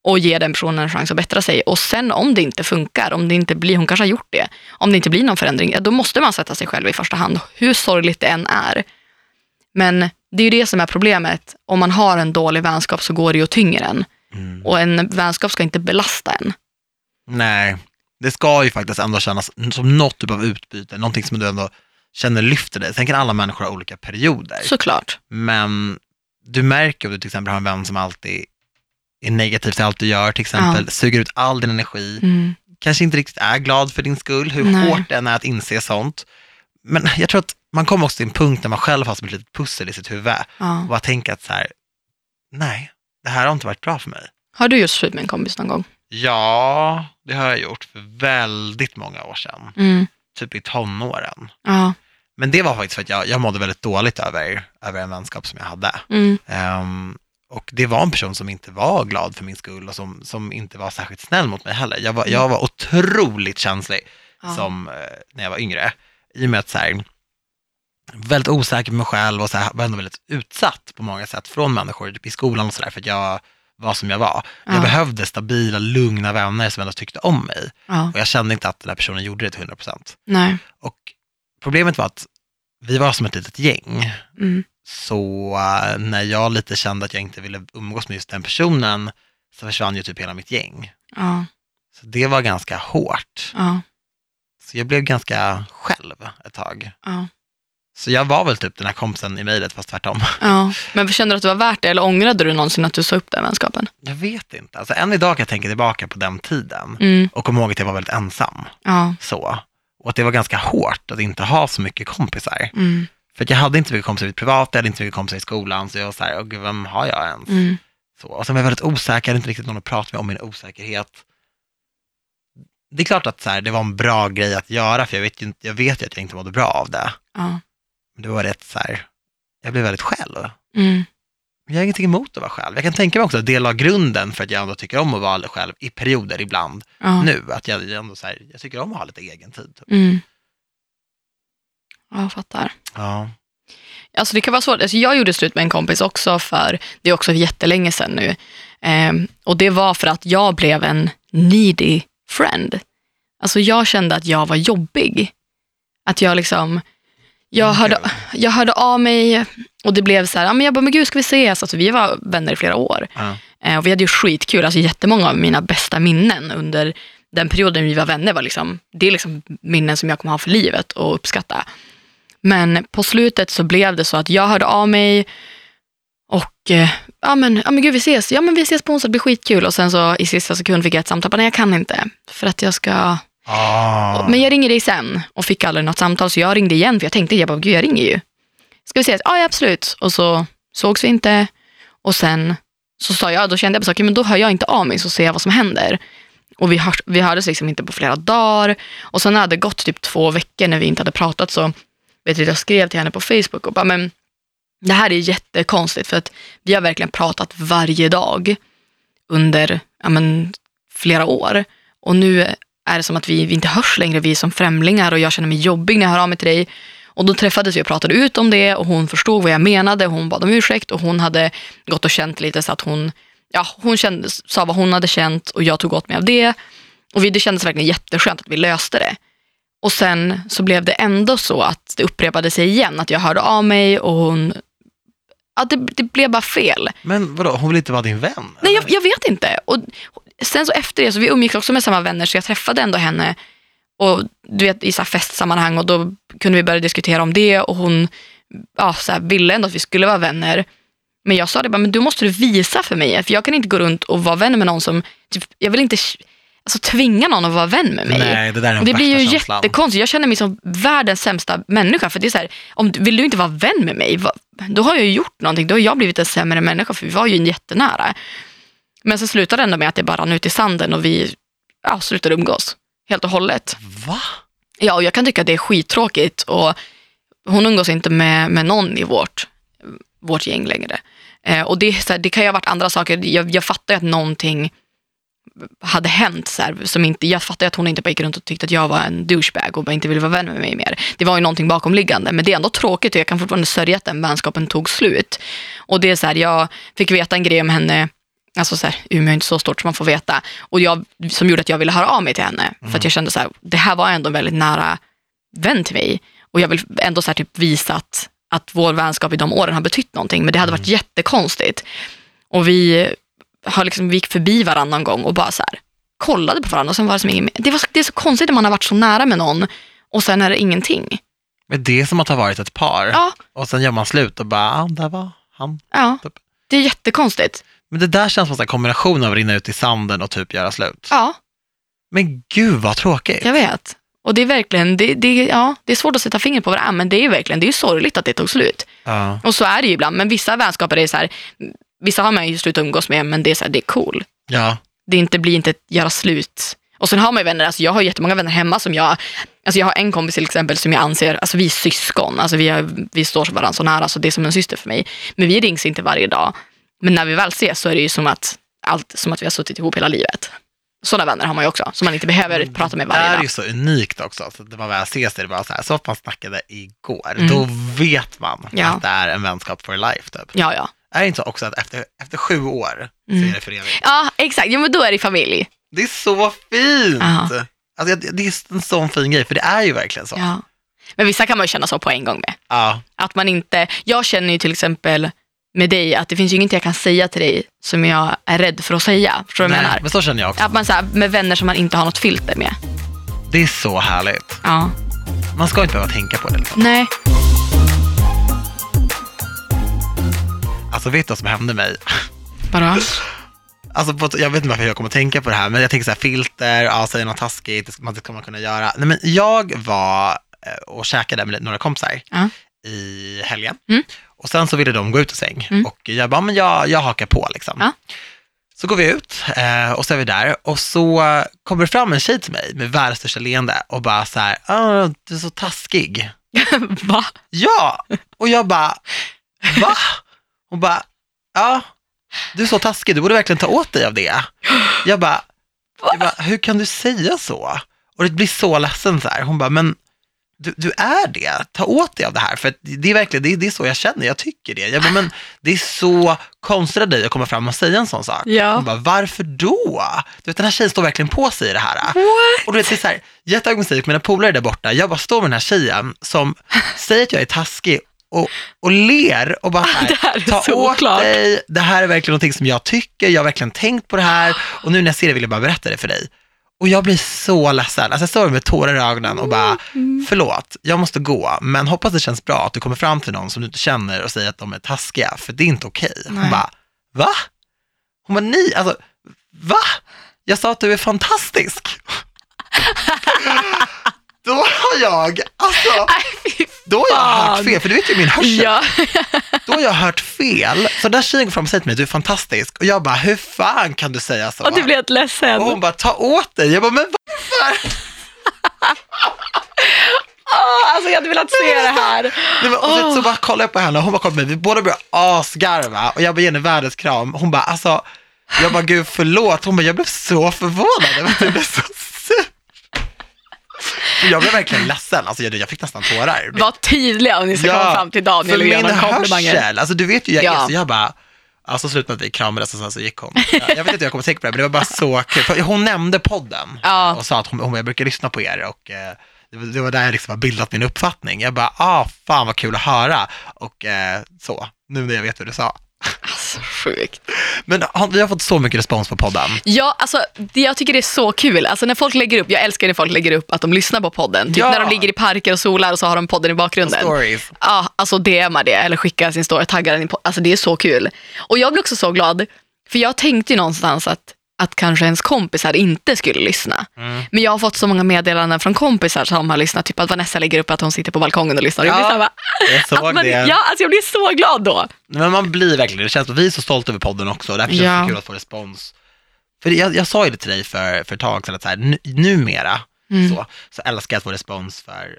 och ge den personen en chans att bättra sig. Och sen om det inte funkar, om det inte blir, hon kanske har gjort det, om det inte blir någon förändring, ja, då måste man sätta sig själv i första hand, hur sorgligt det än är. Men det är ju det som är problemet. Om man har en dålig vänskap så går det ju och tynger en. Mm. Och en vänskap ska inte belasta en. Nej, det ska ju faktiskt ändå kännas som något typ av utbyte, någonting som du ändå känner lyfter dig. Sen kan alla människor ha olika perioder, Såklart. men du märker om du till exempel har en vän som alltid är negativ till allt du gör, till exempel suger ut all din energi, Mm. kanske inte riktigt är glad för din skull, hur Nej. hårt det än är att inse sånt. Men jag tror att man kommer också till en punkt där man själv har som ett litet pussel i sitt huvud och Ja. bara tänker att så här, nej, det här har inte varit bra för mig. Har du gjort slut med en kompis någon gång? Ja, det har jag gjort för väldigt många år sedan, Mm. typ i tonåren. Ja. Men det var faktiskt för att jag, jag mådde väldigt dåligt över, över en vänskap som jag hade. Mm. Ehm, och det var en person som inte var glad för min skull och som, som inte var särskilt snäll mot mig heller. Jag var, jag var otroligt känslig Mm. Ja. som eh, när jag var yngre. I och med att så här, väldigt osäker på mig själv och så här, var ändå väldigt utsatt på många sätt från människor typ i skolan och sådär för att jag var som jag var. Ja. Jag behövde stabila, lugna vänner som ändå tyckte om mig. Ja. Och jag kände inte att den här personen gjorde det till 100%. Nej. Och problemet var att vi var som ett litet gäng. Mm. Så eh, när jag lite kände att jag inte ville umgås med just den personen så försvann ju typ hela mitt gäng. Ja. Så det var ganska hårt. Ja. Så jag blev ganska själv ett tag. Ja. Så jag var väl typ den här kompisen i mejlet fast tvärtom. ja. Men kände du att det var värt det eller ångrade du någonsin att du sa upp den vänskapen? Jag vet inte. Alltså än idag kan jag tänka tillbaka på den tiden Mm. och kommer ihåg att jag var väldigt ensam. Ja. Så. Och att det var ganska hårt att inte ha så mycket kompisar. Mm. För att jag hade inte mycket kompisar i mitt privata, jag hade inte mycket kompisar i skolan, så jag var så här, "Åh, gud, vem har jag ens? Mm. Så. Och sen var jag väldigt osäker, jag hade inte riktigt någon att prata med om min osäkerhet. Det är klart att så här, det var en bra grej att göra, för jag vet ju inte, jag vet ju att jag inte mådde bra av det. Ja. Men det var rätt så här, jag blev väldigt själv. Mm. Jag har ingenting emot att vara själv. Jag kan tänka mig också att det la grunden för att jag ändå tycker om att vara själv i perioder ibland Ja. nu. Att jag, jag ändå så här, jag tycker om att ha lite egen tid. Typ. Mm. Ja, jag fattar. Ja. Alltså det kan vara svårt. Alltså jag gjorde slut med en kompis också för, det är också jättelänge sedan nu. Ehm, och det var för att jag blev en needy friend. Alltså jag kände att jag var jobbig. Att jag liksom, jag Mm, hörde, kul. jag hörde av mig och det blev så här, ja, men jag bara, men gud ska vi ses? Alltså vi var vänner i flera år. Ja. Eh, Och vi hade ju skitkul, alltså jättemånga av mina bästa minnen under den perioden vi var vänner var liksom, det är liksom minnen som jag kommer ha för livet och uppskatta. Men på slutet så blev det så att jag hörde av mig och eh, ja men, ja men gud vi ses, ja men vi ses på onsdag, det blir skitkul. Och sen så i sista sekund fick jag ett samtal, bara, nej jag kan inte för att jag ska, Ah. men jag ringer dig sen och fick aldrig något samtal så jag ringde igen för jag tänkte, jag bara gud jag ringer ju. Ska vi ses? Ja, ja absolut. Och så sågs vi inte och sen så sa jag, då kände jag bara så, okej, men då hör jag inte av mig så ser jag vad som händer. Och vi, hörs, vi hördes liksom inte på flera dagar och sen hade det gått typ två veckor när vi inte hade pratat så vet du, jag skrev till henne på Facebook och bara, men det här är jättekonstigt för att vi har verkligen pratat varje dag under ja, men, flera år. Och nu är det som att vi, vi inte hörs längre, vi är som främlingar och jag känner mig jobbig när jag hör av mig till dig. Och då träffades vi och pratade ut om det och hon förstod vad jag menade, hon bad om ursäkt och hon hade gått och känt lite så att hon, ja, hon kände, sa vad hon hade känt och jag tog åt mig av det. Och vi, det kändes verkligen jätteskönt att vi löste det. Och sen så blev det ändå så att det upprepade sig igen, att jag hörde av mig och hon, ja, det, det blev bara fel. Men vadå, hon vill inte vara din vän? Nej, jag, jag vet inte. Och sen så efter det, så vi umgicks också med samma vänner, så jag träffade ändå henne och du vet, i så här festsammanhang och då kunde vi börja diskutera om det och hon ja, så här, ville ändå att vi skulle vara vänner. Men jag sa det, bara, men du måste du visa för mig, för jag kan inte gå runt och vara vän med någon som, typ, jag vill inte alltså, tvinga någon att vara vän med mig. Nej, det där är den Det blir ju värsta känslan. jättekonstigt. Jag känner mig som världens sämsta människa. För det är så här, om, du- vill du inte vara vän med mig, va, då har jag ju gjort någonting. Då har jag blivit en sämre människa, för vi var ju jättenära. Men så slutade det ändå med att det bara rann ut i sanden och vi ja, slutade umgås helt och hållet. Va? Ja, och jag kan tycka att det är skittråkigt. Och hon umgås inte med, med någon i vårt, vårt gäng längre. Eh, och det, är så här, det kan ju ha varit andra saker. Jag, jag fattar ju att någonting hade hänt. Så här, som inte, jag fattar ju att hon inte bara gick runt och tyckte att jag var en douchebag och bara inte ville vara vän med mig mer. Det var ju någonting bakomliggande. Men det är ändå tråkigt och jag kan fortfarande sörja att den vänskapen tog slut. Och det är så här, jag fick veta en grej om henne Alltså så här, Umeå är inte så stort som man får veta. Och jag, som gjorde att jag ville höra av mig till henne. För att jag kände så här, det här var ändå en väldigt nära vän till mig. Och jag vill ändå så här typ visa att, att vår vänskap i de åren har betytt någonting. Men det hade varit jättekonstigt. Och vi, har liksom, vi gick förbi varandra någon gång och bara så här, kollade på varandra. Och sen var det, som ingen, det, var, så- det är så konstigt när man har varit så nära med någon och sen är det ingenting. Men det är som att ha varit ett par Ja, och sen gör man slut och bara, ah, där var han. ja. Typ. det är jättekonstigt. Men det där känns som en sån här kombination av att rinna ut i sanden och typ göra slut. Ja, Men gud vad tråkigt. jag vet. Och det är verkligen, det, det, ja, det är svårt att sätta fingret på vad det är, men det är verkligen, det är ju sorgligt att det tog slut. Ja. Och så är det ju ibland, men vissa vänskaper är så här, vissa har man ju slutat umgås med, men det är så här, det är cool. ja. Det är inte, blir inte ett göra slut. Och sen har man ju vänner, alltså jag har jättemånga vänner hemma som jag, alltså jag har en kompis till exempel som jag anser, alltså vi är syskon, alltså vi, har, vi står varandra så nära, så det är som en syster för mig. Men vi rings inte varje dag, men när vi väl ses så är det ju som att, allt, som att vi har suttit ihop hela livet. Sådana vänner har man ju också, som man inte behöver prata med Det varje här är dag. ju så unikt också, så att när man väl ses det är det bara så här, så att man snackade igår, Mm. då vet man Ja. att det är en vänskap for life typ. Ja, ja. Är det inte så också att efter, efter sju år så Mm. är det för evigt? Ja, exakt. Jo, men då är det familj. Det är så fint! Ja. Alltså, jag- det är en sån fin grej, för det är ju verkligen så. Ja. Ja. Men vissa kan man ju känna så på en gång med. Att man inte, jag känner ju till exempel med dig att det finns ju ingenting jag kan säga till dig som jag är rädd för att säga. Förstår du vad jag Nej, menar? men så känner jag också. Att man så här, med vänner som man inte har något filter med. Det är så härligt. Ja. Man ska inte behöva tänka på det. Liksom. Nej. Alltså vet du vad som hände mig? Vadå? Alltså, på, jag vet inte varför jag kommer att tänka på det här, men jag tänker så här filter, ja, säga något taskigt, det ska man, det ska man kunna göra. Nej, men jag var eh, och käkade med några kompisar Ja. i helgen Mm. och sen så ville de gå ut ur säng Mm. och jag bara, men jag, jag hakar på liksom. Ja. Så går vi ut eh, och så är vi där och så eh, kommer det fram en tjej till mig med världens största leende och bara så här, "Ah, du är så taskig. Va? Ja, och jag bara, va? Hon bara, ja, du är så taskig, du borde verkligen ta åt dig av det. Jag bara, jag bara hur kan du säga så? Och det blir så ledsen så här. Hon bara, men du, du är det, ta åt dig av det här, för att det är verkligen, det är, det är så jag känner, jag tycker det. Jag bara, men det är så konstigt av dig att komma fram och säga en sån sak. Ja. Hon bara, varför då? Du vet, den här tjejen står verkligen på sig i det här. What? Och du vet, det är så här, jätteaggressivt, mina polare där borta, jag bara står med den här tjejen som säger att jag är taskig och, och ler och bara så Det här är här, ta så åt klart." dig, det här är verkligen någonting som jag tycker, jag har verkligen tänkt på det här och nu när jag ser det vill jag bara berätta det för dig. Och jag blir så ledsen, alltså jag står med tårar i ögonen och bara, Mm. förlåt, jag måste gå, men hoppas det känns bra att du kommer fram till någon som du inte känner och säger att de är taskiga, för det är inte okej. Hon Nej. bara, va? Hon bara, nej, alltså, va? Jag sa att du är fantastisk. Då har jag, alltså, Nej, fy då har jag hört Fan. fel, för du vet ju min hörsel. Ja. Då har jag hört fel. Så den tjejen går fram och säger till mig, du är fantastisk. Och jag bara, hur fan kan du säga så? Och du blev helt ledsen. och hon bara, ta åt dig. Jag bara, men varför? Åh, alltså jag hade velat se det här. Nej, men, och så, så bara kollade jag på henne och hon bara kollade på mig. Vi båda började asgarva och jag bara, ge henne världens kram. Hon bara, alltså, jag bara, gud förlåt. Hon bara, jag blev så förvånad över att du blev så sur. Och Jag blev verkligen ledsen, alltså jag, jag fick nästan tårar. Var tydliga om ni ska komma fram till Daniel och för ge min honom komplimanger. hörsel, alltså du vet ju jag är, Ja. så jag bara, alltså slut med att vi kramades och sen så gick hon. Jag, jag vet inte hur jag kommer att tänka på det, men det var bara så kul. För hon nämnde podden Ja. och sa att hon, hon jag brukar lyssna på er och eh, det var- det var där jag liksom har bildat min uppfattning. Jag bara, ah fan vad kul att höra och eh, så, nu när jag vet hur du sa. Alltså sjukt. Men har- vi har fått så mycket respons på podden. Ja, alltså, det, jag tycker det är så kul. Alltså, när folk lägger upp, jag älskar när folk lägger upp att de lyssnar på podden. Typ Ja. när de ligger i parker och solar och så har de podden i bakgrunden. Stories. Ja, alltså DMar det eller skickar sin story, taggar den i podden. Alltså det är så kul. Och jag blir också så glad, för jag tänkte ju någonstans att, att kanske ens kompisar inte skulle lyssna. Mm. Men jag har fått så många meddelanden från kompisar som har lyssnat, typ att Vanessa lägger upp att hon sitter på balkongen och lyssnar. Jag blir, Ja, så här, bara, Jag såg att man, det. ja, alltså jag blir så glad då. Men man blir verkligen, det känns, vi är så stolta över podden också, därför känns det Ja. kul att få respons. För jag, jag sa ju det till dig för, för ett tag sedan, att så här, nu, numera Mm. så, så älskar jag att få respons för,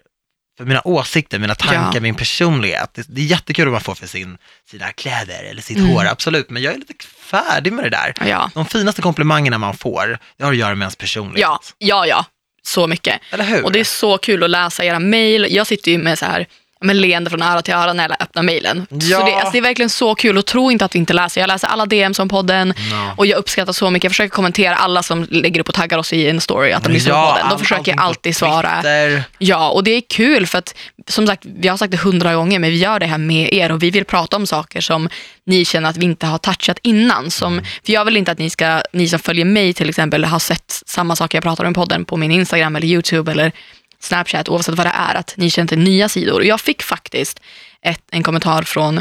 för mina åsikter, mina tankar, Ja. min personlighet. Det, det är jättekul om man får för sin, sina kläder eller sitt Mm. hår, absolut, men jag är lite färdig med det där. Ja, De finaste komplimangerna man får, det har att göra med ens personlighet. ja, ja, ja. så mycket. Eller hur? Och det är så kul att läsa era mejl. Jag sitter ju med så här, ja, med leende från öra till öra när jag öppnar mejlen. Ja. Så det, alltså, det är verkligen så kul och tro inte att vi inte läser. Jag läser alla DMs om podden Ja. och jag uppskattar så mycket. Jag försöker kommentera alla som lägger upp och taggar oss i en story att de lyssnar på podden. all- Då försöker allting jag på alltid svara. Twitter. Ja, och det är kul för att som sagt, jag har sagt det hundra gånger, men vi gör det här med er och vi vill prata om saker som ni känner att vi inte har touchat innan. Som, för jag vill inte att ni, ska, ni som följer mig till exempel har sett samma saker jag pratar om i podden på min Instagram eller YouTube eller Snapchat, oavsett vad det är, att ni känner till nya sidor. Och jag fick faktiskt ett, en kommentar från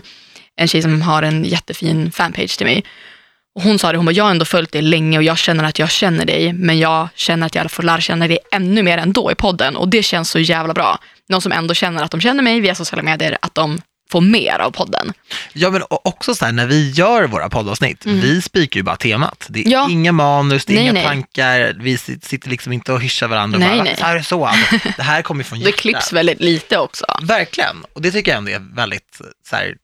en tjej som har en jättefin fanpage till mig. Och hon sa det, hon bara, jag har ändå följt dig länge och jag känner att jag känner dig, men jag känner att jag får lära känna dig ännu mer ändå i podden och det känns så jävla bra. Någon som ändå känner att de känner mig via sociala medier, att de får mer av podden. Ja, men o- också så här, när vi gör våra poddavsnitt, vi spikar ju bara temat. Det är Mm. Ja. inga manus, det är Nej, inga nej. tankar, vi sit- sitter liksom inte och hyschar varandra och Nej, bara, nej. så här är det så, alltså, det här kommer ju från Det hjärtat. klipps väldigt lite också. Verkligen, och det tycker jag ändå är väldigt, eh, så här,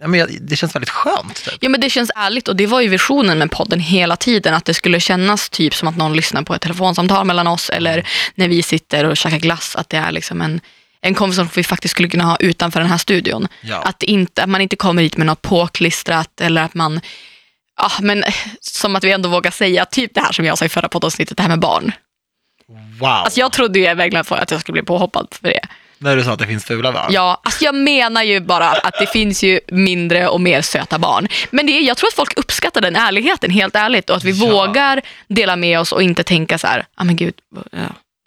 ja, men jag- det känns väldigt skönt. Typ. Ja men det känns ärligt och det var ju visionen med podden hela tiden, att det skulle kännas typ som att någon lyssnar på ett telefonsamtal mellan oss eller när vi sitter och käkar glass, att det är liksom en en konversation vi faktiskt skulle kunna ha utanför den här studion. Ja. Att, inte, att man inte kommer hit med något påklistrat eller att man, ja men eh, som att vi ändå vågar säga typ det här som jag sa i förra poddavsnittet, det här med barn. Wow, Alltså jag trodde ju verkligen att jag skulle bli påhoppad för det. när du sa att det finns fula barn. Ja, alltså jag menar ju bara att det finns ju mindre och mer söta barn. Men det är, jag tror att folk uppskattar den ärligheten, helt ärligt. Och att vi Ja. vågar dela med oss och inte tänka så här, ja men gud, vad- ja,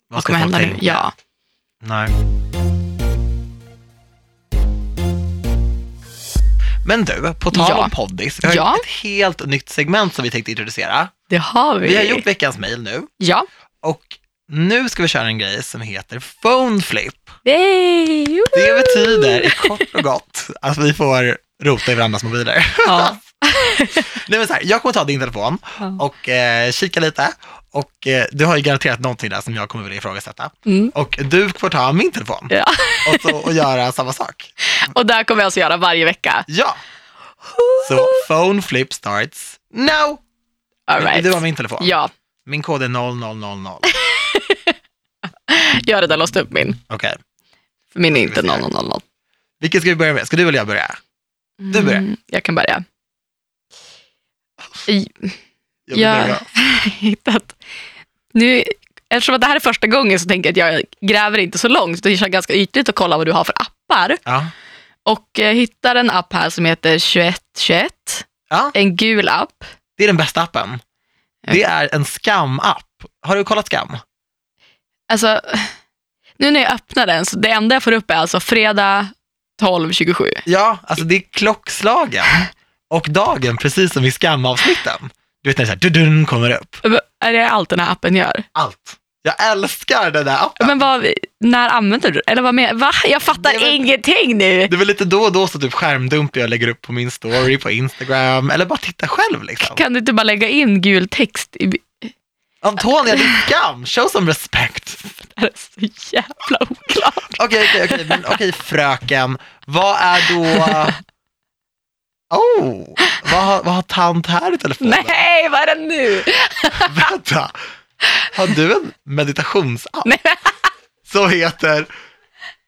vad ska kommer folk hända nu? tänka? Ja. Nej. Men du, på tal Ja. om poddis, vi har Ja. ett helt nytt segment som vi tänkte introducera. Det har vi. Vi har gjort veckans mail nu Ja. och nu ska vi köra en grej som heter phone flip. Yay! Woho! Det betyder i kort och gott att vi får rota i varandras mobiler. Ja. Nej, men så här, jag kommer ta din telefon Ja. och eh, kika lite och eh, du har ju garanterat någonting där som jag kommer vilja ifrågasätta. Mm. Och du får ta min telefon ja. och, så, och göra samma sak. Och där kommer jag alltså göra varje vecka. Ja, så phone flip starts now. All right. Du har min telefon. Ja, Min kod är 0000. jag har redan låst upp min. Okej, För min är Då ska inte vi se här. 000. vilket ska vi börja med? Ska du eller jag börja? Du börjar. Mm, jag kan börja. Jag blir Ja. nervös. hittat. Nu, eftersom att det här är första gången så tänker jag att jag gräver inte så långt. Det känns ganska ytligt att kolla vad du har för appar. Ja. Och eh, hittar en app här som heter 2121. ja, En gul app. det är den bästa appen. Det är en skam-app. Har du kollat skam? Alltså, nu när jag öppnar den, så det enda jag får upp är alltså fredag 12.27. Ja, alltså det är klockslagen och dagen, precis som i skamavsnitten. Du vet när det är så här, dudun kommer upp. Är det allt den här appen gör? Allt. Jag älskar den där appen. Men vad, när använder du Eller vad menar Va? Jag fattar Nej, men- ingenting nu. Det är väl lite då och då så typ skärmdumpar jag lägger upp på min story på Instagram, eller bara titta själv liksom. Kan du inte bara lägga in gul text? I... Antonia, det är skam! Show some respect. Det här är så jävla oklart. Okej, okej, okej, men okej fröken, vad är då... Oh, vad har, vad har tant här i telefonen? Nej, vad är det nu? Vänta, har du en meditationsapp Nej. som heter,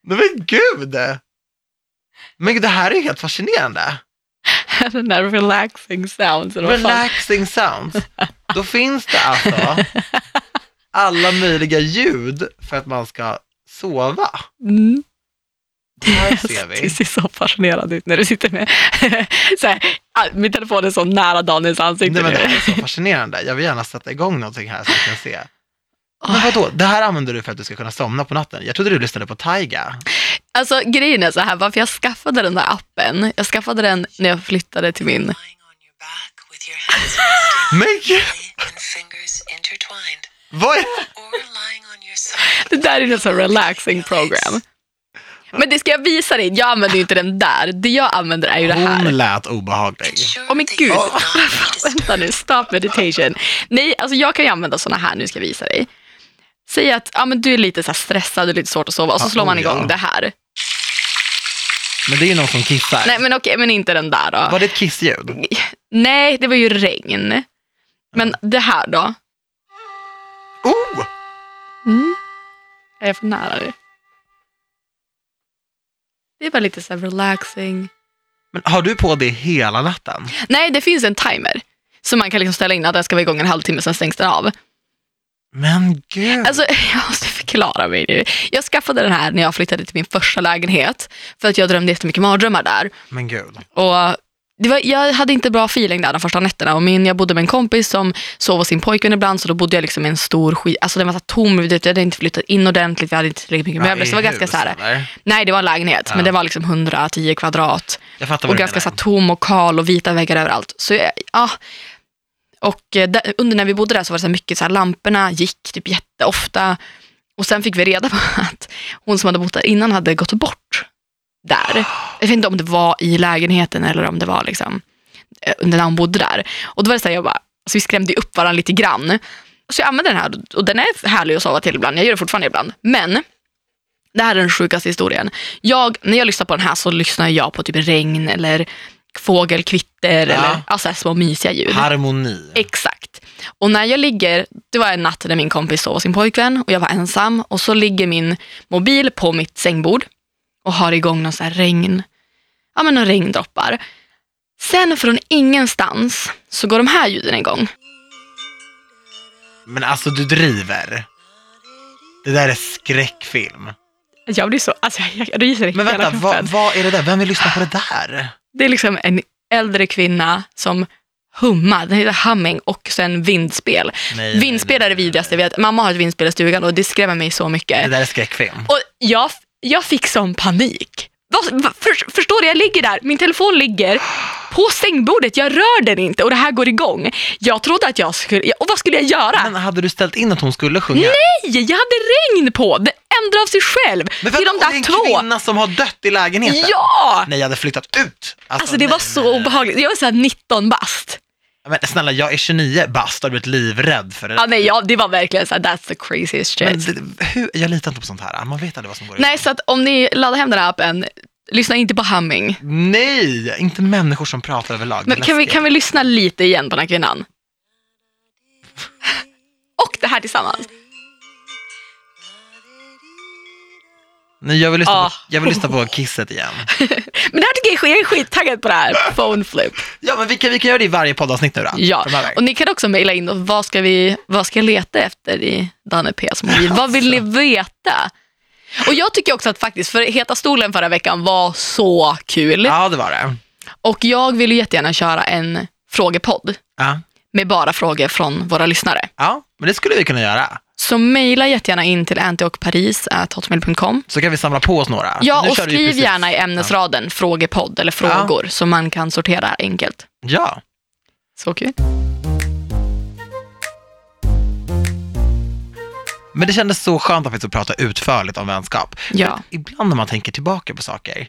nej men gud! Men det här är ju helt fascinerande. Den där relaxing sounds. Eller vad fan. Relaxing sounds. Då finns det alltså alla möjliga ljud för att man ska sova. Mm. Här ser vi. Du ser så fascinerad ut när du sitter med... så här, ah, min telefon är så nära Daniels ansikte Nej, men det nu. här är så fascinerande. Jag vill gärna sätta igång någonting här så jag kan se. Men vadå, det här använder du för att du ska kunna somna på natten? Jag trodde du lyssnade på Taiga. Alltså grejen är så här, varför jag skaffade den där appen. Jag skaffade den när jag flyttade till min... lying on your back with your hands resting Men gud, lightly and fingers intertwined, vad är or lying on your side. Det där är en sån relaxing program. Men det ska jag visa dig. Jag använder ju inte den där. Det jag använder är ju det här. Hon lät obehaglig. Ensure Oh, men that you gud. will not be disturbed. Vänta nu, stop meditation. Nej, alltså jag kan ju använda såna här nu ska jag visa dig. Säg att ja, men du är lite så här stressad, du är lite svårt att sova och så Ja, slår man oh, ja. igång det här. Men det är ju någon som kissar. Nej men okej, men inte den där då. Var det ett kissljud? Nej, det var ju regn. Men det här då? Oh! Är jag för nära nu? Det är bara lite så här relaxing. Men har du på det hela natten? Nej, det finns en timer. Så man kan liksom ställa in att den ska vara igång en halvtimme, sen stängs den av. Men gud. Alltså, jag måste förklara mig nu. Jag skaffade den här när jag flyttade till min första lägenhet. För att jag drömde jättemycket mardrömmar där. Men gud. Och det var, jag hade inte bra feeling där de första nätterna. Och min, jag bodde med en kompis som sov hos sin pojkvän ibland, så då bodde jag liksom i en stor skit. Alltså den var så här tom, du vet, jag hade inte flyttat in ordentligt, vi hade inte tillräckligt mycket möbler. Så det var i ganska hus, så här, eller? nej det var en lägenhet, Ja. men det var liksom 110 kvadrat. Jag fattar Och vad du ganska så här, menar. tom och kal och vita väggar överallt. Så jag, ja. Och eh, där, under när vi bodde där så var det så här mycket, så här, lamporna gick typ jätteofta. Och sen fick vi reda på att hon som hade bott där innan hade gått bort där. Jag vet inte om det var i lägenheten eller om det var liksom eh, under när hon bodde där. Och då var det så här, jag bara, alltså vi skrämde ju upp varandra lite grann. Så jag använde den här och den är härlig att sova till ibland. Jag gör det fortfarande ibland. Men det här är den sjukaste historien. Jag, när jag lyssnar på den här så lyssnar jag på typ regn eller fågelkvitter Ja. eller alltså så här små mysiga ljud. Harmoni. Exakt. Och när jag ligger, det var en natt när min kompis sov hos sin pojkvän och jag var ensam och så ligger min mobil på mitt sängbord och har igång någon så här regn, ja men några regndroppar. Sen från ingenstans så går de här ljuden igång. Men alltså du driver. Det där är skräckfilm. Jag blir så, alltså jag, jag ryser i Men hela vänta, kroppen. vad, vad är det där? Vem vill lyssna på det där? Det är liksom en äldre kvinna som hummar, den heter humming och sen vindspel. nej, vindspel nej, är det nej, vidrigaste jag vet. Mamma har ett vindspel i stugan och det skrämmer mig så mycket. Det där är skräckfilm. Och jag, jag fick sån panik. Vad- vad- för, förstår du? Jag ligger där, min telefon ligger på sängbordet, jag rör den inte och det här går igång. Jag trodde att jag skulle, och vad skulle jag göra? Men hade du ställt in att hon skulle sjunga? Nej, jag hade regn på! Det ändrar av sig själv. Men till vänta, de och det är där en två. kvinna som har dött i lägenheten? Ja! Nej, jag hade flyttat ut. Alltså det nej, var nej, så nej. obehagligt. Jag var såhär 19 bast. Men snälla, jag är 29 bast och har blivit livrädd för det Ja, nej, ja, det var verkligen såhär, that's the craziest shit. Men det, hur, jag litar inte på sånt här. Man vet aldrig vad som går Nej, i- så att om ni laddar hem den här appen, lyssna inte på Humming. Nej, inte människor som pratar överlag. Men Det är kan vi, läskigt. kan vi lyssna lite igen på den här kvinnan? Och det här tillsammans. Nej, jag vill lyssna, Ah. på, jag vill lyssna på kisset igen. Men det här tycker jag är skit- jag är skittaggad på det här. Phone flip. Ja, men vi kan, vi kan göra det i varje poddavsnitt nu då. Ja, Framöver. och ni kan också mejla in då, vad ska, vi, vad ska jag leta efter i Danne P's mobil? Vad vill ni veta? Och jag tycker också att faktiskt, för Heta stolen förra veckan var så kul. Ja, det var det. Och jag vill ju jättegärna köra en frågepodd Ja. med bara frågor från våra lyssnare. ja, men det skulle vi kunna göra. Så mejla jättegärna in till antiochparis.hotmail.com. Så kan vi samla på oss några. Ja, Nu och kör du ju skriv precis- gärna i ämnesraden frågepodd eller frågor så man kan sortera enkelt. Ja. Så kul. Men det kändes så skönt att faktiskt prata utförligt om vänskap. Ja. Ibland när man tänker tillbaka på saker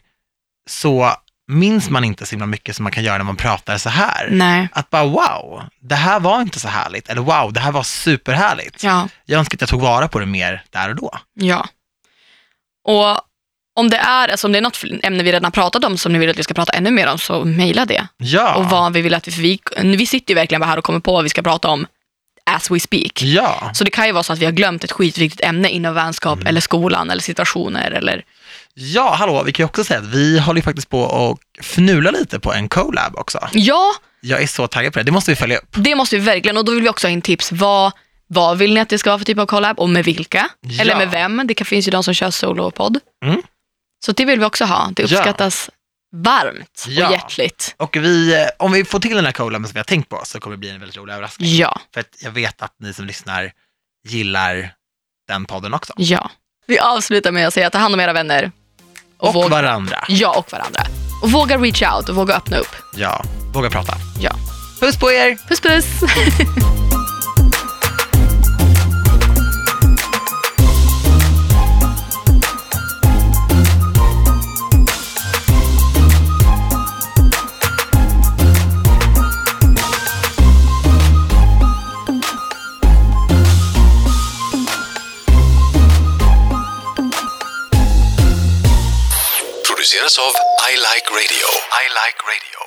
så minns man inte så himla mycket som man kan göra när man pratar så här. Nej. Att bara wow, det här var inte så härligt. Eller wow, det här var superhärligt. Ja. Jag önskar att jag tog vara på det mer där och då. Ja. Och om det är, alltså om det är något ämne vi redan har pratat om som ni vill att vi ska prata ännu mer om så mejla det. Ja, Och vad vi vill att vi, för vi, vi sitter ju verkligen bara här och kommer på vad vi ska prata om as we speak. ja. Så det kan ju vara så att vi har glömt ett skitviktigt ämne inom vänskap Mm. eller skolan eller situationer eller ja, hallå, vi kan ju också säga att vi håller ju faktiskt på och fnula lite på en collab också. ja, Jag är så taggad på det, det måste vi följa upp. Det måste vi verkligen och då vill vi också ha in tips. Vad, vad vill ni att det ska vara för typ av collab och med vilka? Ja. Eller med vem? Det kan- finns ju de som kör solopodd. Mm. Så det vill vi också ha. Det Ja. uppskattas varmt och Ja. hjärtligt. Och vi, eh, om vi får till den här collaben som vi har tänkt på så kommer det bli en väldigt rolig överraskning. Ja, För att jag vet att ni som lyssnar gillar den podden också. ja. Vi avslutar med att säga ta hand om era vänner. Och våg- varandra. Ja, och varandra. Och våga reach out och våga öppna upp. Ja, våga prata. Ja. Puss på er! Puss puss! produceras av I Like Radio. I Like Radio.